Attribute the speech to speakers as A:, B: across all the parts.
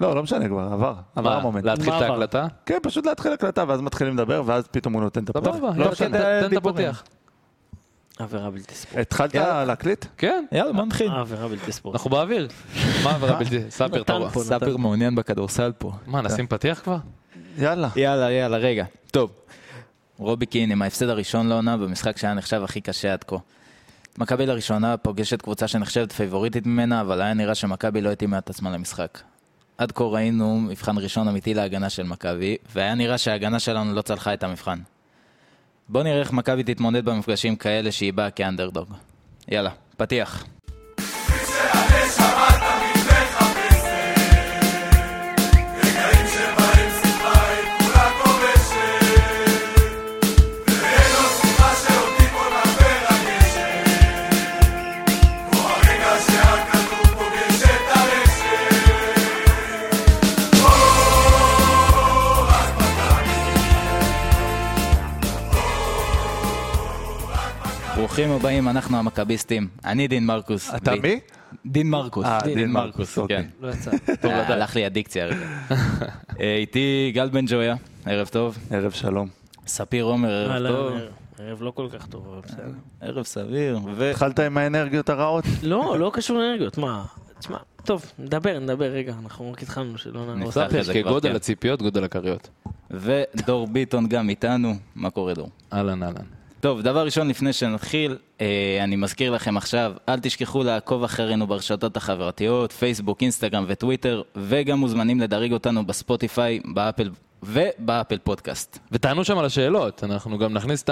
A: לא, לא משנה כבר, עבר, עבר
B: מה,
A: המומנט.
B: להתחיל את
C: מה עבר?
B: ההקלטה?
A: כן, פשוט להתחיל הקלטה, ואז מתחילים לדבר, ואז פתאום הוא נותן את הפתח.
B: סבבה,
A: לא
B: יאללה,
A: משנה.
B: תן תן את
C: דיבורים.
B: הפתיח.
C: עבירה בלתי ספורט.
A: התחלת
B: יאללה.
A: להקליט?
B: כן,
D: יאללה, בוא נתחיל.
C: עבירה בלתי ספורט.
B: אנחנו באוויר. מה העבירה בלתי? ספר,
C: נתן
B: טוב.
C: פה.
D: סאפר מעוניין בכדורסל פה. אה,
B: מה, נשים פתיח כבר?
A: יאללה.
D: יאללה, יאללה, רגע. טוב. רובי קין עם ההפסד הראשון לעונה במשחק שהיה נחשב הכי קשה עד כה. מכבי לראשונה פוגשת קבוצה שנחשבת פייבוריטית ממנה, אבל היה נראה שמכבי לא התאימה את עצמה למשחק. עד כה ראינו מבחן ראשון אמיתי להגנה של מכבי, והיה נראה שההגנה שלנו לא צלחה את המבחן. בואו נראה איך מכבי תתמודד במפגשים כאלה שהיא באה כאנדרדוג. יאללה, פתיח. ברוכים הבאים, אנחנו המכביסטים. אני דין מרקוס.
A: אתה
D: די-
A: מי?
D: דין מרקוס.
A: אה,
D: דין
A: דין
D: מרקוס,
A: מרקוס, אוקיי.
D: כן.
C: לא יצא.
D: טוב, הלך לי הדיקציה רגע. אה, איתי גל בן ג'ויה, ערב טוב.
A: ערב שלום.
D: ספיר עומר, ערב
C: אהלן,
D: טוב. אה.
C: ערב- ערב לא כל כך טוב, אבל בסדר.
D: ערב סביר.
A: התחלת עם האנרגיות הרעות?
C: לא, לא קשור לאנרגיות, מה? תשמע, טוב, נדבר, נדבר, רגע, אנחנו רק התחלנו שלא נעבור.
D: נפתח את זה כבר,
B: כגודל
D: כן.
B: הציפיות, גודל הכריות.
D: ודור ביטון גם איתנו, מה קורה דור?
B: אהלן, אהלן.
D: טוב, דבר ראשון לפני שנתחיל, אה, אני מזכיר לכם עכשיו, אל תשכחו לעקוב אחרינו ברשתות החברתיות, פייסבוק, אינסטגרם וטוויטר, וגם מוזמנים לדרג אותנו בספוטיפיי, באפל ובאפל פודקאסט.
B: ותענו שם על השאלות, אנחנו גם נכניס את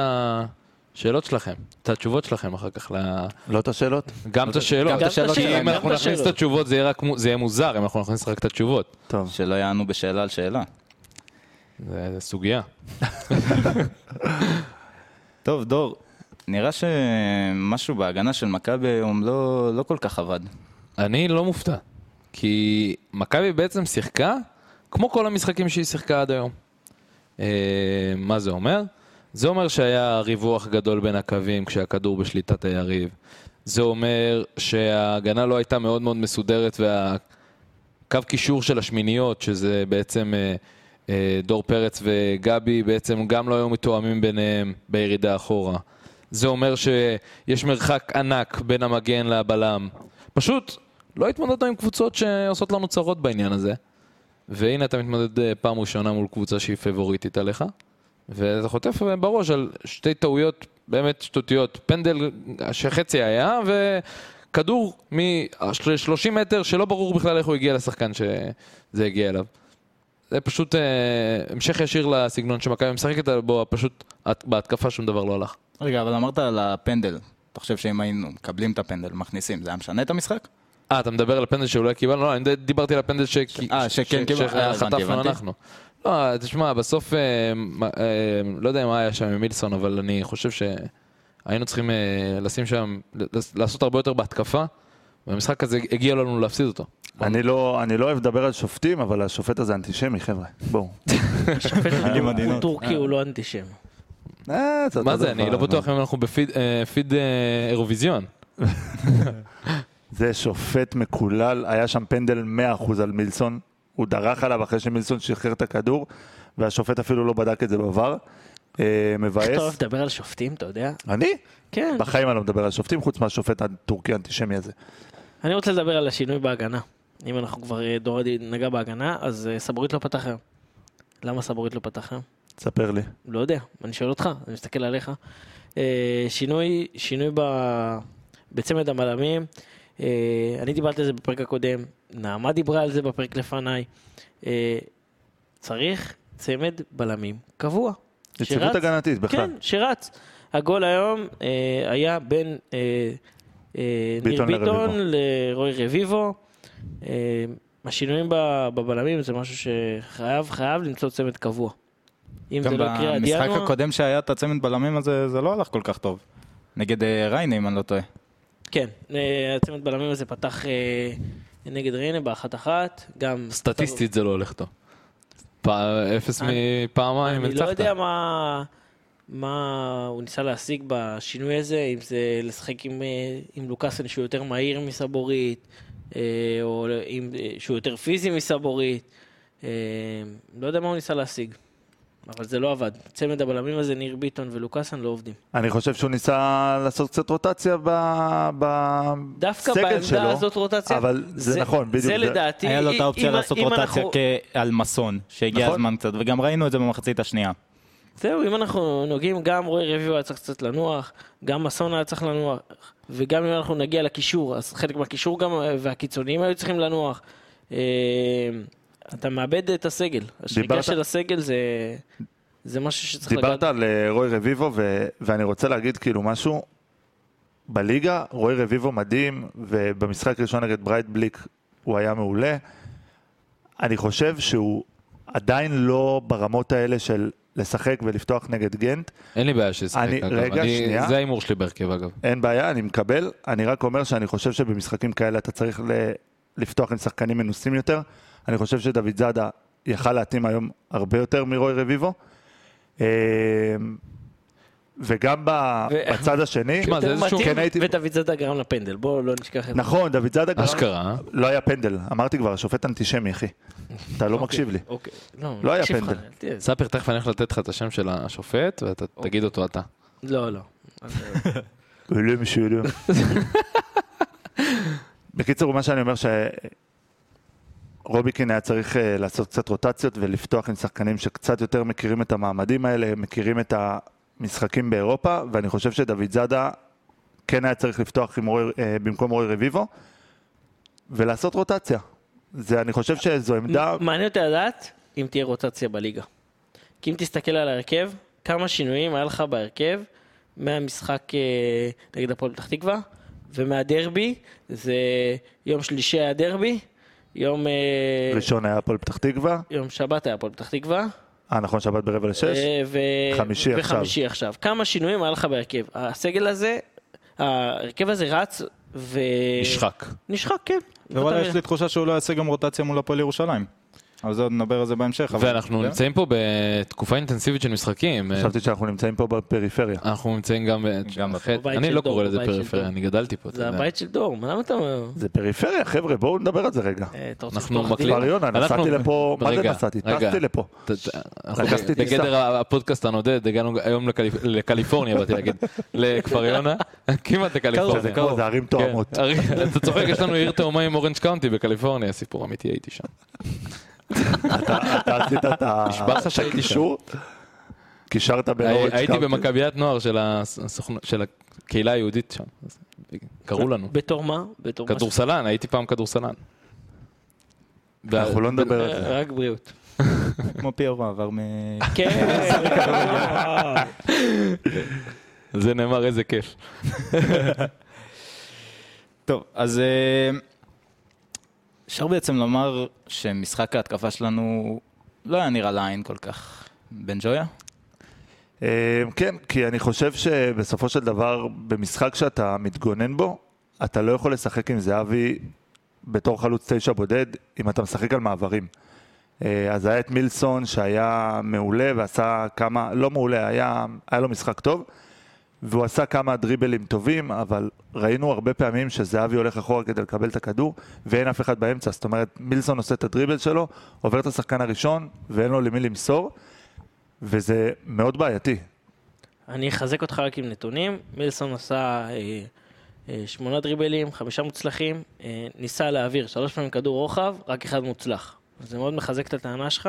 B: השאלות שלכם, את התשובות שלכם אחר כך, ל-
A: לא את השאלות?
B: גם את השאלות.
D: גם את השאלות
B: כי
D: שלהם,
B: אם
D: גם
B: אנחנו
C: את
B: נכניס את
C: השאלות.
B: התשובות זה יהיה רק מו- זה יהיה מוזר אם אנחנו נכניס רק את התשובות.
A: טוב.
D: שלא יענו בשאלה על שאלה.
B: זה זה סוגיה.
D: טוב, דור, נראה שמשהו בהגנה של מכבי היום לא, לא כל כך עבד.
B: אני לא מופתע, כי מכבי בעצם שיחקה כמו כל המשחקים שהיא שיחקה עד היום. אה, מה זה אומר? זה אומר שהיה ריווח גדול בין הקווים כשהכדור בשליטת היריב. זה אומר שההגנה לא הייתה מאוד מאוד מסודרת והקו קישור של השמיניות, שזה בעצם אה, אה, דור פרץ וגבי, בעצם גם לא היו מתואמים ביניהם בירידה אחורה. זה אומר שיש מרחק ענק בין המגן לבלם. פשוט לא התמודדנו עם קבוצות שעושות לנו צרות בעניין הזה. והנה אתה מתמודד אה, פעם ראשונה מול קבוצה שהיא פבוריטית עליך, ואתה חוטף אה, בראש על שתי טעויות באמת שטותיות, פנדל אה, שחצי היה, וכדור מ-30 מטר שלא ברור בכלל איך הוא הגיע לשחקן שזה הגיע אליו. זה פשוט אה, המשך ישיר לסגנון שמכבי משחקת בו, פשוט הת- בהתקפה שום דבר לא הלך.
D: רגע, אבל אמרת על הפנדל. אתה חושב שאם היינו מקבלים את הפנדל, מכניסים, זה היה משנה את המשחק?
B: אה, אתה מדבר על הפנדל שאולי קיבלנו? לא, אני ד- דיברתי על הפנדל ש...
D: אה, שכן
B: ש-
D: קיבלנו. אה, הבנתי,
B: שחטפנו
D: הבנתי.
B: אנחנו. לא, תשמע, בסוף, אה, מה- אה, לא יודע מה היה שם עם מילסון, אבל אני חושב שהיינו צריכים אה, לשים שם, לס- לעשות הרבה יותר בהתקפה, והמשחק הזה הגיע לנו להפסיד אותו.
A: אני לא אני לא אוהב לדבר על שופטים, אבל השופט הזה אנטישמי, חבר'ה. בואו.
C: השופט
D: מילים
C: הוא- הוא
D: עדינות.
C: טורקי, הוא לא אנטישם.
A: אה, אותו
B: מה זה,
A: דבר,
B: אני לא
A: אבל-
B: בטוח אם אנחנו בפיד אה, פיד, אה, אירוויזיון.
A: זה שופט מקולל, היה שם פנדל 100% על מילסון, הוא דרך עליו אחרי שמילסון שחרר את הכדור, והשופט אפילו לא בדק את זה בVAR. אה,
C: איך אתה אוהב
A: מבאס.
C: לדבר על שופטים, אתה יודע?
A: אני?
C: כן.
A: בחיים אני לא מדבר על שופטים, חוץ מהשופט הטורקי האנטישמי הזה.
C: אני רוצה לדבר על השינוי בהגנה. אם אנחנו כבר, אה, דורדי נגע בהגנה, אז אה, סבורית לא פתח היום. למה סבורית לא פתח היום?
A: תספר לי.
C: לא יודע, אני שואל אותך, אני מסתכל עליך. אה, שינוי, שינוי ב... בצמד המלמים, אה, אני דיברתי על זה בפרק הקודם, נעמה דיברה על זה בפרק לפניי. אה, צריך צמד בלמים קבוע.
A: יציבות
C: שרץ-
A: הגנתית בכלל.
C: כן, שרץ. הגול היום אה, היה בין אה, אה, ניר
A: ביטון
C: ביטון
A: לרביבו.
C: לרוי רביבו. אה, השינויים ב- בבלמים זה משהו שחייב חייב למצוא צמד קבוע. אם זה
D: גם
C: לא יקרה עד
D: במשחק
C: ינואר,
D: הקודם שהיה את הצמד בלמים הזה, זה לא הלך כל כך טוב. נגד אה, ריינה, אם אני לא טועה.
C: כן, אה, הצמד בלמים הזה פתח אה, נגד ריינה באחת אחת, גם...
B: סטטיסטית זה לא הולך טוב. פ- אפס
C: אני-
B: מפעמיים
C: אני לא
B: ניצחת.
C: יודע מה, מה הוא ניסה להשיג בשינוי הזה, אם זה לשחק עם, אה, עם לוקאסן שהוא יותר מהיר מסבורית, אה, או אם, אה, שהוא יותר פיזי מסבורית. אה, לא יודע מה הוא ניסה להשיג, אבל זה לא עבד. צמד הבלמים הזה, ניר ביטון ולוקאסן, לא עובדים.
A: אני חושב שהוא ניסה לעשות קצת רוטציה ב- ב-
C: דווקא
A: בסגל
C: בעמדה
A: שלו.
C: הזאת רוטציה,
A: אבל זה נכון, בדיוק,
C: זה
A: זה-
C: לדעתי,
D: היה לו את
C: אם-
D: האופציה
C: אם-
D: לעשות
C: אם
D: רוטציה כן.
C: אנחנו-
D: על מסון, שהגיע
A: נכון.
D: הזמן קצת, וגם ראינו את זה במחצית השנייה.
C: זהו, אם אנחנו נוגעים, גם רועי רביבו היה צריך קצת לנוח, גם מסון היה צריך לנוח, וגם אם אנחנו נגיע לקישור, אז חלק מהקישור גם, אה, והקיצוניים היו צריכים לנוח. אה, אתה מאבד את הסגל. השחיקה
A: דיברת-
C: של הסגל זה, זה משהו שצריך
A: דיברת על אה, רוי רביבו, ו- ואני רוצה להגיד כאילו משהו. בליגה, רוי רביבו מדהים, ובמשחק ראשון נגד ברייט בליק הוא היה מעולה. אני חושב שהוא עדיין לא ברמות האלה של לשחק ולפתוח נגד גנט.
B: אין לי בעיה שישחק,
A: אני-
B: אגב.
A: רגע,
B: אני-
A: שנייה.
B: זה ההימור שלי בהרכב, אגב.
A: אין בעיה, אני מקבל. אני רק אומר שאני חושב שבמשחקים כאלה אתה צריך ל- לפתוח עם שחקנים מנוסים יותר. אני חושב שדוד זאדה יכל להתאים היום הרבה יותר מרוי רביבו. אה, וגם ב-
C: ו-
A: בצד השני,
B: שמע, זה איזשהו-
A: כן הייתי...
C: ודוד זאדה גרם לפנדל, בואו לא נשכח את זה.
A: נכון, דוד זאדה גרם-
B: אשכרה. אה?
A: לא היה פנדל, אמרתי כבר, השופט אנטישמי, אחי. אתה לא מקשיב לי.
C: אוקיי. לא,
A: לא היה
C: מקשיב לך,
A: פנדל.
C: אל תהיה-
B: ספיר, תכף אני הולך לתת לך את השם של השופט, ואתה
C: אוקיי.
B: תגיד אותו אתה.
C: לא, לא.
A: אלוהים שאלוהים. בקיצור, מה שאני אומר שרוביקין היה צריך אה, לעשות קצת רוטציות ולפתוח עם שחקנים שקצת יותר מכירים את המעמדים האלה, מכירים את המשחקים באירופה, ואני חושב שדוד זאדה כן היה צריך לפתוח עם רוי, אה, במקום רוי רביבו, ולעשות רוטציה. זה, אני חושב שזו עמדה...
C: מעניין אותי לדעת אם תהיה רוטציה בליגה. כי אם תסתכל על ההרכב, כמה שינויים היה לך בהרכב מהמשחק אה, נגד הפועל פתח תקווה ומהדרבי, זה יום שלישי היה דרבי, יום, אה,
A: ראשון היה הפועל פתח תקווה,
C: יום שבת היה הפועל פתח תקווה.
A: אה נכון, שבת ברבע לשש,
C: אה, ו-
A: חמישי עכשיו.
C: וחמישי עכשיו. כמה שינויים היה לך בהרכב. הסגל הזה, ההרכב הזה רץ ו...
B: נשחק.
C: נשחק, כן.
E: ווואלה, יש לי תחושה שהוא לא יעשה גם רוטציה מול הפועל ירושלים. אבל זה עוד נדבר על זה בהמשך. אבל-
B: ואנחנו
A: כן.
B: נמצאים פה בתקופה אינטנסיבית של משחקים. אה,
A: חשבתי שאנחנו נמצאים פה בפריפריה.
B: אנחנו נמצאים גם... ב-
D: גם
B: אחרי-
C: בבית
B: אני
C: של
B: לא
C: דור,
B: קורא לזה
C: בבית של
B: פריפריה,
C: דור.
B: אני גדלתי פה. אתה
C: זה
B: יודע.
C: הבית של דור, מה למה אתה אומר?
A: זה פריפריה, חבר'ה, בואו נדבר על זה רגע.
C: אה, אתה רוצה
B: אנחנו
C: לפתוח דיון?
B: מקליטים.
A: כבר יונה,
B: אנחנו-
A: נסעתי לפה, מה זה
B: רגע,
A: נסעתי?
B: רגע.
A: טסתי לפה.
B: ת- ת- אנחנו
A: לקחתי טיסה.
B: בגדר הפודקאסט הנודד, הגענו היום לקליפ- לקליפורניה, באתי להגיד, לכפר יונה, כמעט לקליפורניה.
A: זה כמו, זה ערים תואמות.
B: כן. הרי- אתה צוחק, יש לנו עיר תאומה עם אורנג' קאונטי בקליפורניה, סיפור אמיתי, הייתי שם.
A: אתה עשית את ה-
B: נשבע לך
A: את
B: שהייתי
A: הקישור? קישרת בין
B: הי-
A: אורנג'
B: הייתי
A: קאונטי.
B: במכביית נוער של הסוכנות- של הקהילה היהודית שם, אז קראו לנו.
C: בתור מה? בתור מה ש-
B: כדורסלן, הייתי פעם כדורסלן.
A: אנחנו לא נדבר על זה.
C: אה, רק בריאות.
E: כמו פיורו עבר מ...
C: כן,
A: לא-
B: זה נאמר איזה כיף.
E: טוב, אז אה,
D: אפשר בעצם לומר שמשחק ההתקפה שלנו לא היה נראה לעין כל כך. בן ג'ויה?
A: אה, כן, כי אני חושב שבסופו של דבר, במשחק שאתה מתגונן בו, אתה לא יכול לשחק עם זהבי בתור חלוץ תשע בודד, אם אתה משחק על מעברים. אה, אז היה את מילסון שהיה מעולה ועשה כמה, לא מעולה, היה, היה לו משחק טוב, והוא עשה כמה דריבלים טובים, אבל ראינו הרבה פעמים שזהבי הולך אחורה כדי לקבל את הכדור, ואין אף אחד באמצע. זאת אומרת, מילסון עושה את הדריבל שלו, עובר את השחקן הראשון, ואין לו למי למסור, וזה מאוד בעייתי.
C: אני אחזק אותך רק עם נתונים. מילסון עשה אה, אה, שמונה דריבלים, חמישה מוצלחים, אה, ניסה להעביר שלוש פעמים כדור רוחב, רק אחד מוצלח. זה מאוד מחזק את הטענה שלך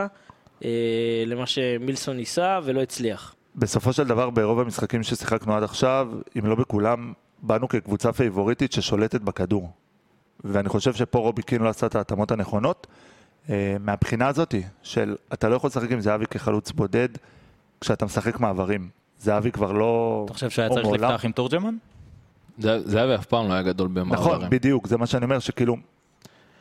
C: אה, למה שמילסון ניסה ולא הצליח.
A: בסופו של דבר, ברוב המשחקים ששיחקנו עד עכשיו, אם לא בכולם, באנו כקבוצה פייבוריטית ששולטת בכדור. ואני חושב שפה רובי קין לא עשה את ההתאמות הנכונות. אה, מהבחינה הזאת של אתה לא יכול לשחק עם זהבי כחלוץ בודד כשאתה משחק מעברים. זהבי כבר לא...
D: אתה חושב שהיה
A: הוא
D: צריך
A: מעולם-
D: לפתוח עם תורג'מן?
B: זה- זהבי אף פעם לא היה גדול במעברים.
A: נכון, בדיוק, זה מה שאני אומר, שכאילו...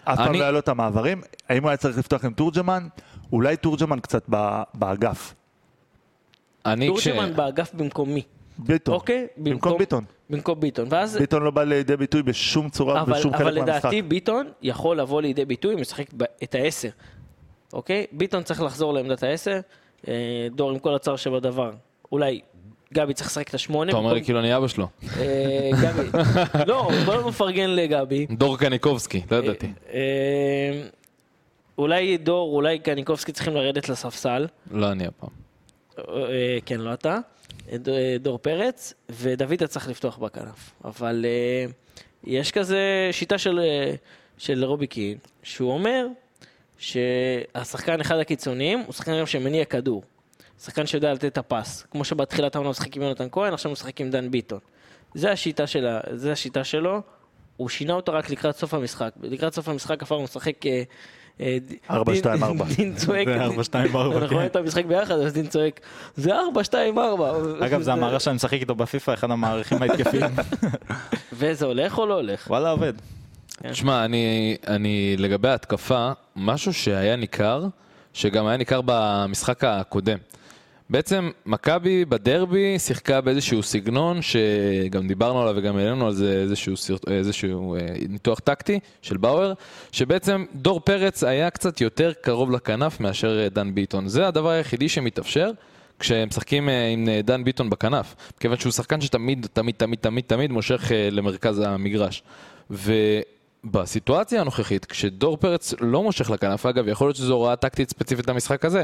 A: אף פעם
B: אני-
A: לא היה לו את המעברים. האם הוא היה צריך לפתוח עם תורג'מן? אולי תורג'מן קצת ב- באגף.
B: אני כש...
C: תורג'מן באגף במקומי,
A: ביטון.
C: אוקיי?
A: במקום ביטון.
C: במקום ביטון. ואז
A: ביטון לא בא לידי ביטוי בשום צורה,
C: אבל,
A: בשום
C: אבל
A: חלק מהמשחק.
C: לדעתי ביטון יכול לבוא לידי ביטוי אם ישחק ב- את העשר, אוקיי? ביטון צריך לחזור לעמדת העשר, אה, דור עם כל הצער שבדבר, אולי גבי צריך לשחק את השמונה.
B: אתה אומר לי
C: במקום-
B: כאילו אני אבא שלו.
C: אה, גבי. לא, בוא נפרגן לגבי.
B: דור קניקובסקי, לא ידעתי.
C: אה, אה, אולי דור, אולי קניקובסקי צריכים לרדת לספסל.
B: לא אני הפעם.
C: אה, כן, לא אתה. אה, ד- אה, דור פרץ, ודוידה צריך לפתוח בכנף. אבל אה, יש כזה שיטה של, אה, של רובי קין, שהוא אומר שהשחקן אחד הקיצוניים הוא שחקן גם שמניע כדור. שחקן שיודע לתת את הפס. כמו שבתחילת העונה הוא משחק עם יונתן כהן, עכשיו הוא משחק עם דן ביטון. זה השיטה, שלה, זה השיטה שלו. הוא שינה אותה רק לקראת סוף המשחק. לקראת סוף המשחק הפעם הוא משחק... אה, אה, ד-
A: ארבע,
C: דין-
A: שתיים, ארבע.
C: דין צועק,
E: זה ארבע, שתיים, ארבע,
C: אנחנו
E: כן.
C: רואים את המשחק ביחד, אז דין צועק, זה 4, 2, 4.
E: אגב, זה המערך שאני משחק איתו בפיפא, אחד המערכים ההתקפיים.
C: וזה הולך או לא הולך?
E: וואלה, עובד.
C: כן.
B: תשמע, אני, אני לגבי ההתקפה, משהו שהיה ניכר, שגם היה ניכר במשחק הקודם. בעצם, מכבי בדרבי שיחקה באיזשהו סגנון, שגם דיברנו עליו וגם העלינו על זה איזשהו, סרט, איזשהו אה, ניתוח טקטי של באואר, שבעצם דור פרץ היה קצת יותר קרוב לכנף מאשר אה, דן ביטון. זה הדבר היחידי שמתאפשר. כשהם משחקים אה, עם אה, דן ביטון בכנף, כיוון שהוא שחקן שתמיד, תמיד, תמיד, תמיד, תמיד מושך אה, למרכז המגרש. ובסיטואציה הנוכחית, כשדור פרץ לא מושך לכנף, אגב, יכול להיות שזו הוראה טקטית ספציפית למשחק הזה,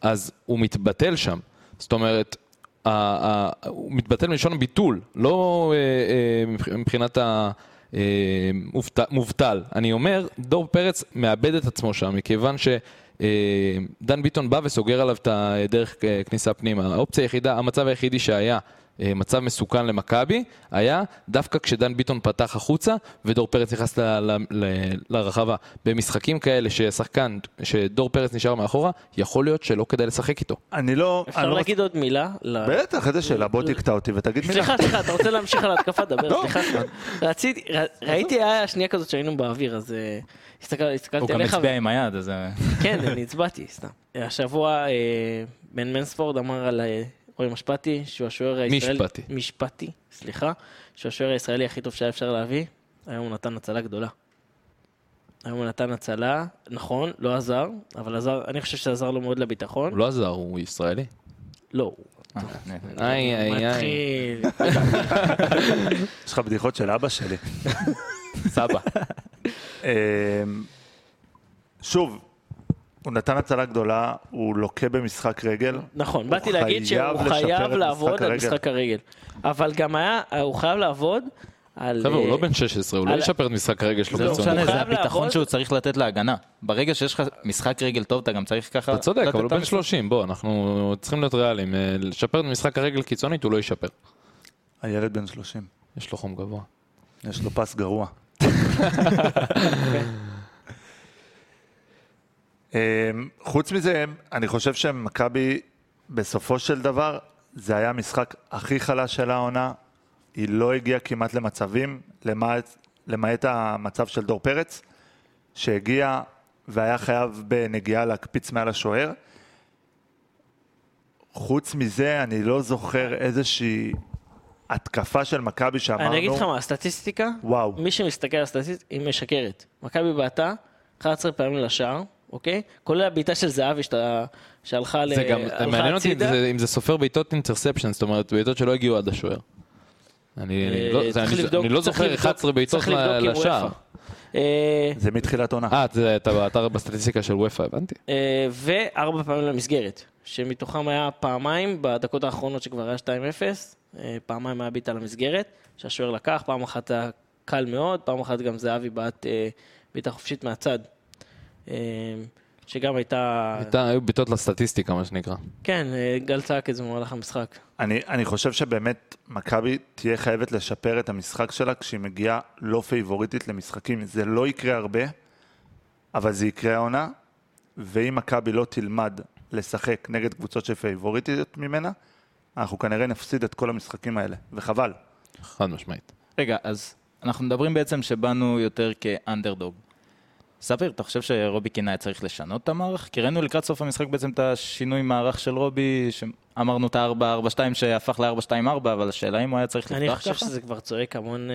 B: אז הוא מתבטל שם. זאת אומרת, ה- ה- הוא מתבטל מלשון ביטול, לא אה, אה, מבח- מבחינת ה... אה, מובט- מובטל. אני אומר, דור פרץ מאבד את עצמו שם, מכיוון ש... אה, דן ביטון בא וסוגר עליו את הדרך אה, כניסה פנימה. האופציה היחידה, המצב היחידי שהיה אה, מצב מסוכן למכבי, היה דווקא כשדן ביטון פתח החוצה ודור פרץ נכנס ל- ל- ל- לרחבה. במשחקים כאלה ששחקן, שדור פרץ נשאר מאחורה, יכול להיות שלא כדאי לשחק איתו.
A: אני לא... אני
C: אפשר
A: לא
C: להגיד עוד מילה? ל-
A: בטח, איזה שאלה, בוא תקטע אותי ותגיד מילה.
C: סליחה, סליחה, אתה רוצה להמשיך על ההתקפה? דבר, סליחה. רציתי, ר- ראיתי, היה שנייה כזאת שהיינו באוויר, אז אה, הסתכל-
D: הוא
C: הסתכלתי
D: גם
C: עליך.
D: הצביע עם היד, אז... אה,
C: כן, אני הצבעתי, סתם. השבוע אה, בן מנספורד אמר על אה, רועי משפטי, שהוא השוער הישראלי...
B: משפטי.
C: משפטי, סליחה. שהוא השוער הישראלי הכי טוב שהיה אפשר להביא. היום הוא נתן הצלה גדולה. היום הוא נתן הצלה, נכון, לא עזר, אבל עזר, אני חושב שעזר לו מאוד לביטחון.
B: הוא לא עזר, הוא ישראלי.
C: לא, הוא
D: אה,
B: איי, איי, איי.
C: מתחיל.
A: יש לך בדיחות של אבא שלי.
B: סבא.
A: אמ, שוב, הוא נתן הצלה גדולה, הוא לוקה במשחק רגל.
C: נכון,
A: הוא
C: באתי להגיד
A: חייב
C: שהוא
A: לשפר את
C: חייב
A: משחק
C: לעבוד על
A: הרגל.
C: משחק הרגל. אבל גם היה, הוא חייב לעבוד על...
B: חבר'ה, הוא
C: אה,
B: לא בן 16, הוא לא
C: על-
B: ישפר את משחק הרגל שלו
D: זה לא
C: הוא
B: קיצוני.
D: משנה,
C: חייב
D: זה הביטחון
C: לעבוד.
D: שהוא צריך לתת להגנה. ברגע שיש לך משחק רגל טוב, אתה גם צריך ככה...
B: אתה צודק,
D: לתת
B: אבל הוא
D: את
B: בן
D: המשחק.
B: 30, בוא, אנחנו צריכים להיות ריאליים. אה, לשפר את משחק הרגל קיצונית, הוא לא ישפר.
A: הילד בן 30,
B: יש לו חום גבוה.
A: יש לו פס גרוע. אמ, חוץ מזה, אני חושב שמכבי, בסופו של דבר, זה היה המשחק הכי חלש של העונה. היא לא הגיעה כמעט למצבים, למעט, למעט המצב של דור פרץ, שהגיע והיה חייב בנגיעה להקפיץ מעל השוער. חוץ מזה, אני לא זוכר איזושהי התקפה של מכבי שאמרנו,
C: אני אגיד לך מה, הסטטיסטיקה,
A: וואו,
C: מי שמסתכל על הסטטיסט, היא משקרת. מכבי בעטה 11 פעמים לשער, אוקיי? כולל הבעיטה של זהבי שאתה- שהלכה ל-
B: זה גם,
C: הלכה
B: מעניין אותי
C: הצידה.
B: זה- אם זה סופר בעיטות אינטרספשן, זאת אומרת בעיטות שלא הגיעו עד השוער. אני אני לא-
C: אה,
B: זה-
C: צריך
B: אני-
C: לבדוק-
B: אני לא
C: צריך
B: זוכר
C: לבדוק-
B: 11 בעיטות
C: צריך לבדוק
B: ל-
C: עם
B: לשער.
C: וופא. אה,
A: זה מתחילת עונה.
B: אה, זה אתה באתר בסטטיסטיקה של וופא, הבנתי.
C: אה, וארבע פעמים למסגרת, שמתוכם היה פעמיים בדקות האחרונות שכבר היה 2-0, אה, פעמיים היה בעיטה למסגרת, שהשוער לקח, פעם אחת היה קל מאוד, פעם אחת גם זהבי בעט אה, בעיטה חופשית מהצד, אה, שגם הייתה...
B: הייתה- היו בעיטות לסטטיסטיקה, מה שנקרא.
C: כן, אה, גל צעק את זה במהלך המשחק.
A: אני, אני חושב שבאמת מכבי תהיה חייבת לשפר את המשחק שלה כשהיא מגיעה לא פייבוריטית למשחקים. זה לא יקרה הרבה, אבל זה יקרה העונה, ואם מכבי לא תלמד לשחק נגד קבוצות שפייבוריטיות ממנה, אנחנו כנראה נפסיד את כל המשחקים האלה, וחבל.
B: חד משמעית.
D: רגע, אז אנחנו מדברים בעצם שבאנו יותר כאנדרדוג. ספיר, אתה חושב שרובי קין היה צריך לשנות את המערך? כי ראינו לקראת סוף המשחק בעצם את השינוי מערך של רובי, שאמרנו את ה-4-4-2 שהפך ל-4-2-4, אבל השאלה אם הוא היה צריך
C: אני
D: לפתוח
C: חושב
D: ככה?
C: שזה כבר צועק המון, אה,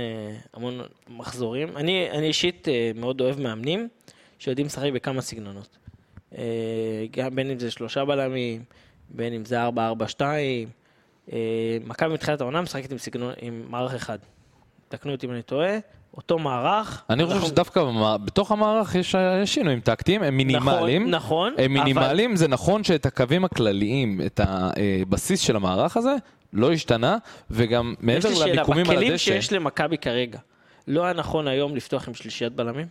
C: המון מחזורים. אני, אני אישית אה, מאוד אוהב מאמנים שיודעים לשחק בכמה סגנונות. אה, גם בין אם זה שלושה בלמים, בין אם זה ארבע, ארבע, שתיים, אה, מכבי מתחילת העונה משחקת עם, סגנון, עם מערך אחד. תקנו אותי אם אני טועה, אותו מערך. נכון,
B: אני חושב
C: אנחנו-
B: שדווקא במע- בתוך המערך יש יש שינויים טקטיים, הם מינימליים.
C: נכון, נכון,
B: הם מינימליים, אבל... זה נכון שאת הקווים הכלליים, את הבסיס של המערך הזה, לא השתנה, וגם
C: יש
B: מעבר
C: לי שאלה,
B: למיקומים על
C: בכלים
B: הדשא,
C: שיש למכבי כרגע, לא היה נכון היום לפתוח עם שלישיית בלמים?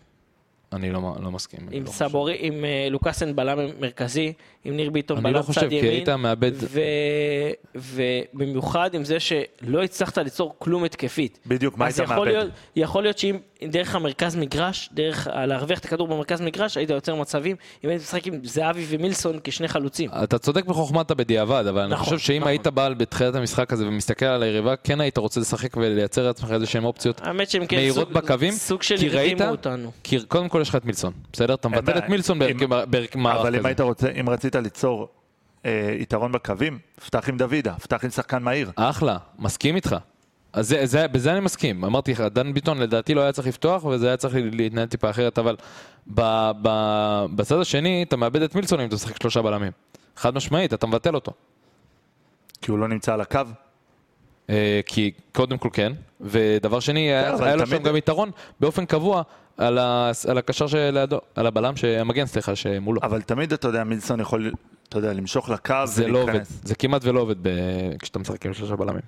B: אני לא, לא מסכים. אני
C: עם
B: לא
C: סבורי, עם אה, לוקאסן בלם מרכזי, עם ניר ביטון
B: אני
C: בלם
B: לא חושב,
C: צד
B: כי
C: ימין,
B: היית מאבד...
C: ו- ובמיוחד עם זה שלא הצלחת ליצור כלום התקפית.
A: בדיוק, מה
C: אז
A: היית
C: יכול
A: מאבד?
C: להיות, יכול להיות שאם דרך המרכז מגרש, דרך ה- להרוויח את הכדור במרכז מגרש, היית יוצר מצבים, אם היית משחק עם זהבי ומילסון כשני חלוצים.
B: אתה צודק בחוכמת הבדיעבד, אבל אני
C: נכון,
B: חושב שאם
C: נכון.
B: היית בא בתחילת המשחק הזה ומסתכל על היריבה, כן היית רוצה לשחק ולייצר לעצמך איזה שהן אופציות.
C: האמת שהם כן
B: מהירות
C: סוג,
B: בקווים,
C: סוג של
B: כי ראית-
C: הרדימו אותנו.
B: כי קודם כל יש לך את מילסון, בסדר? אתה
A: אין
B: מבטל
A: בעיה.
B: את מילסון בהרכב-
A: אם-
B: בהרכב מערך
A: אבל אם
B: כזה.
A: היית רוצה, אם רצית ליצור אה, יתרון בקווים, פתח עם דוידה, פתח עם שחקן מהיר.
B: אחלה, מסכים איתך. אז זה, זה, בזה אני מסכים. אמרתי לך, דן ביטון לדעתי לא היה צריך לפתוח, וזה היה צריך להתנהל טיפה אחרת, אבל ב, ב, בצד השני, אתה מאבד את מילסון אם אתה משחק שלושה בלמים. חד משמעית, אתה מבטל אותו.
A: כי הוא לא נמצא על הקו.
B: אה, כי קודם כל כן, ודבר שני, היה,
A: כן, אבל
B: היה לו
A: תמיד-
B: שם גם יתרון באופן קבוע על, ה, על הקשר שלידו, על הבלם, ש- המגן סליחה, שמולו.
A: אבל תמיד, אתה יודע, מילסון יכול, אתה יודע, למשוך לקו
B: זה לא עובד, זה כמעט ולא עובד ב, כשאתה משחק עם שלושה בלמים.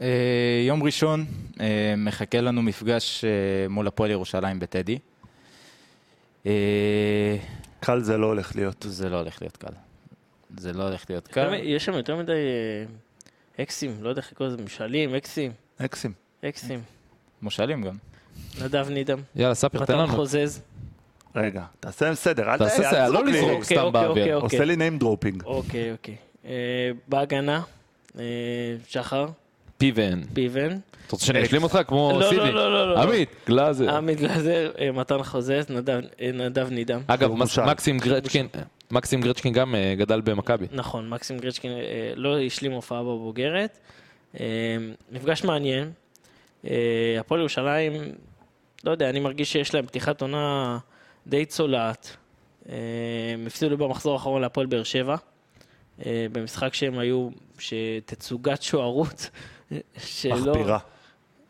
D: אה,
E: יום ראשון,
D: אה, מחכה לנו מפגש אה, מול הפועל ירושלים בטדי. אה,
A: קל זה לא הולך להיות.
D: זה לא הולך להיות קל. זה לא הולך להיות
A: כן.
C: יותר מ-
D: קל.
C: יש שם יותר מדי אה, אקסים, לא יודע איך לקרוא לזה, משאלים, אקסים,
A: אקסים.
C: אקסים.
D: מושאלים גם.
C: נדב נידם,
B: יאללה, ספיר, תן
C: מתן
B: לנו.
C: חוזז.
A: רגע, תעשה להם סדר, אל
B: תעשה
A: אל
B: סדר,
A: תזרוק
B: לא
A: לי.
B: לזרוק. סתם באוויר.
C: אוקיי, אוקיי,
A: עושה לי name dropping.
C: אוקיי, אוקיי. אה, בהגנה, אה, שחר,
B: פיבן.
C: פיבן.
B: אתה רוצה שאני אשלים אותך כמו
C: אה, לא,
B: סיני?
C: לא, לא, לא, לא.
B: עמית, גלאזר.
C: עמית גלזר, אה, מתן חוזז, נדב- אה, נדב נידם.
B: אגב,
A: הוא
B: מס-
A: מושל.
B: מקסים גרצ'קין, מקסים גרצ'קין גם אה, גדל במכבי.
C: נכון, מקסים גרצ'קין אה, לא השלים הופעה בבוגרת. אה, מפגש מעניין. אה, הפועל ירושלים, לא יודע, אני מרגיש שיש להם פתיחת עונה די צולעת. אה, הם הפסידו במחזור האחרון להפועל באר שבע, אה, במשחק שהם היו, שתצוגת שוערות, שלא...
B: אוקיי, לא-
A: מחפירה.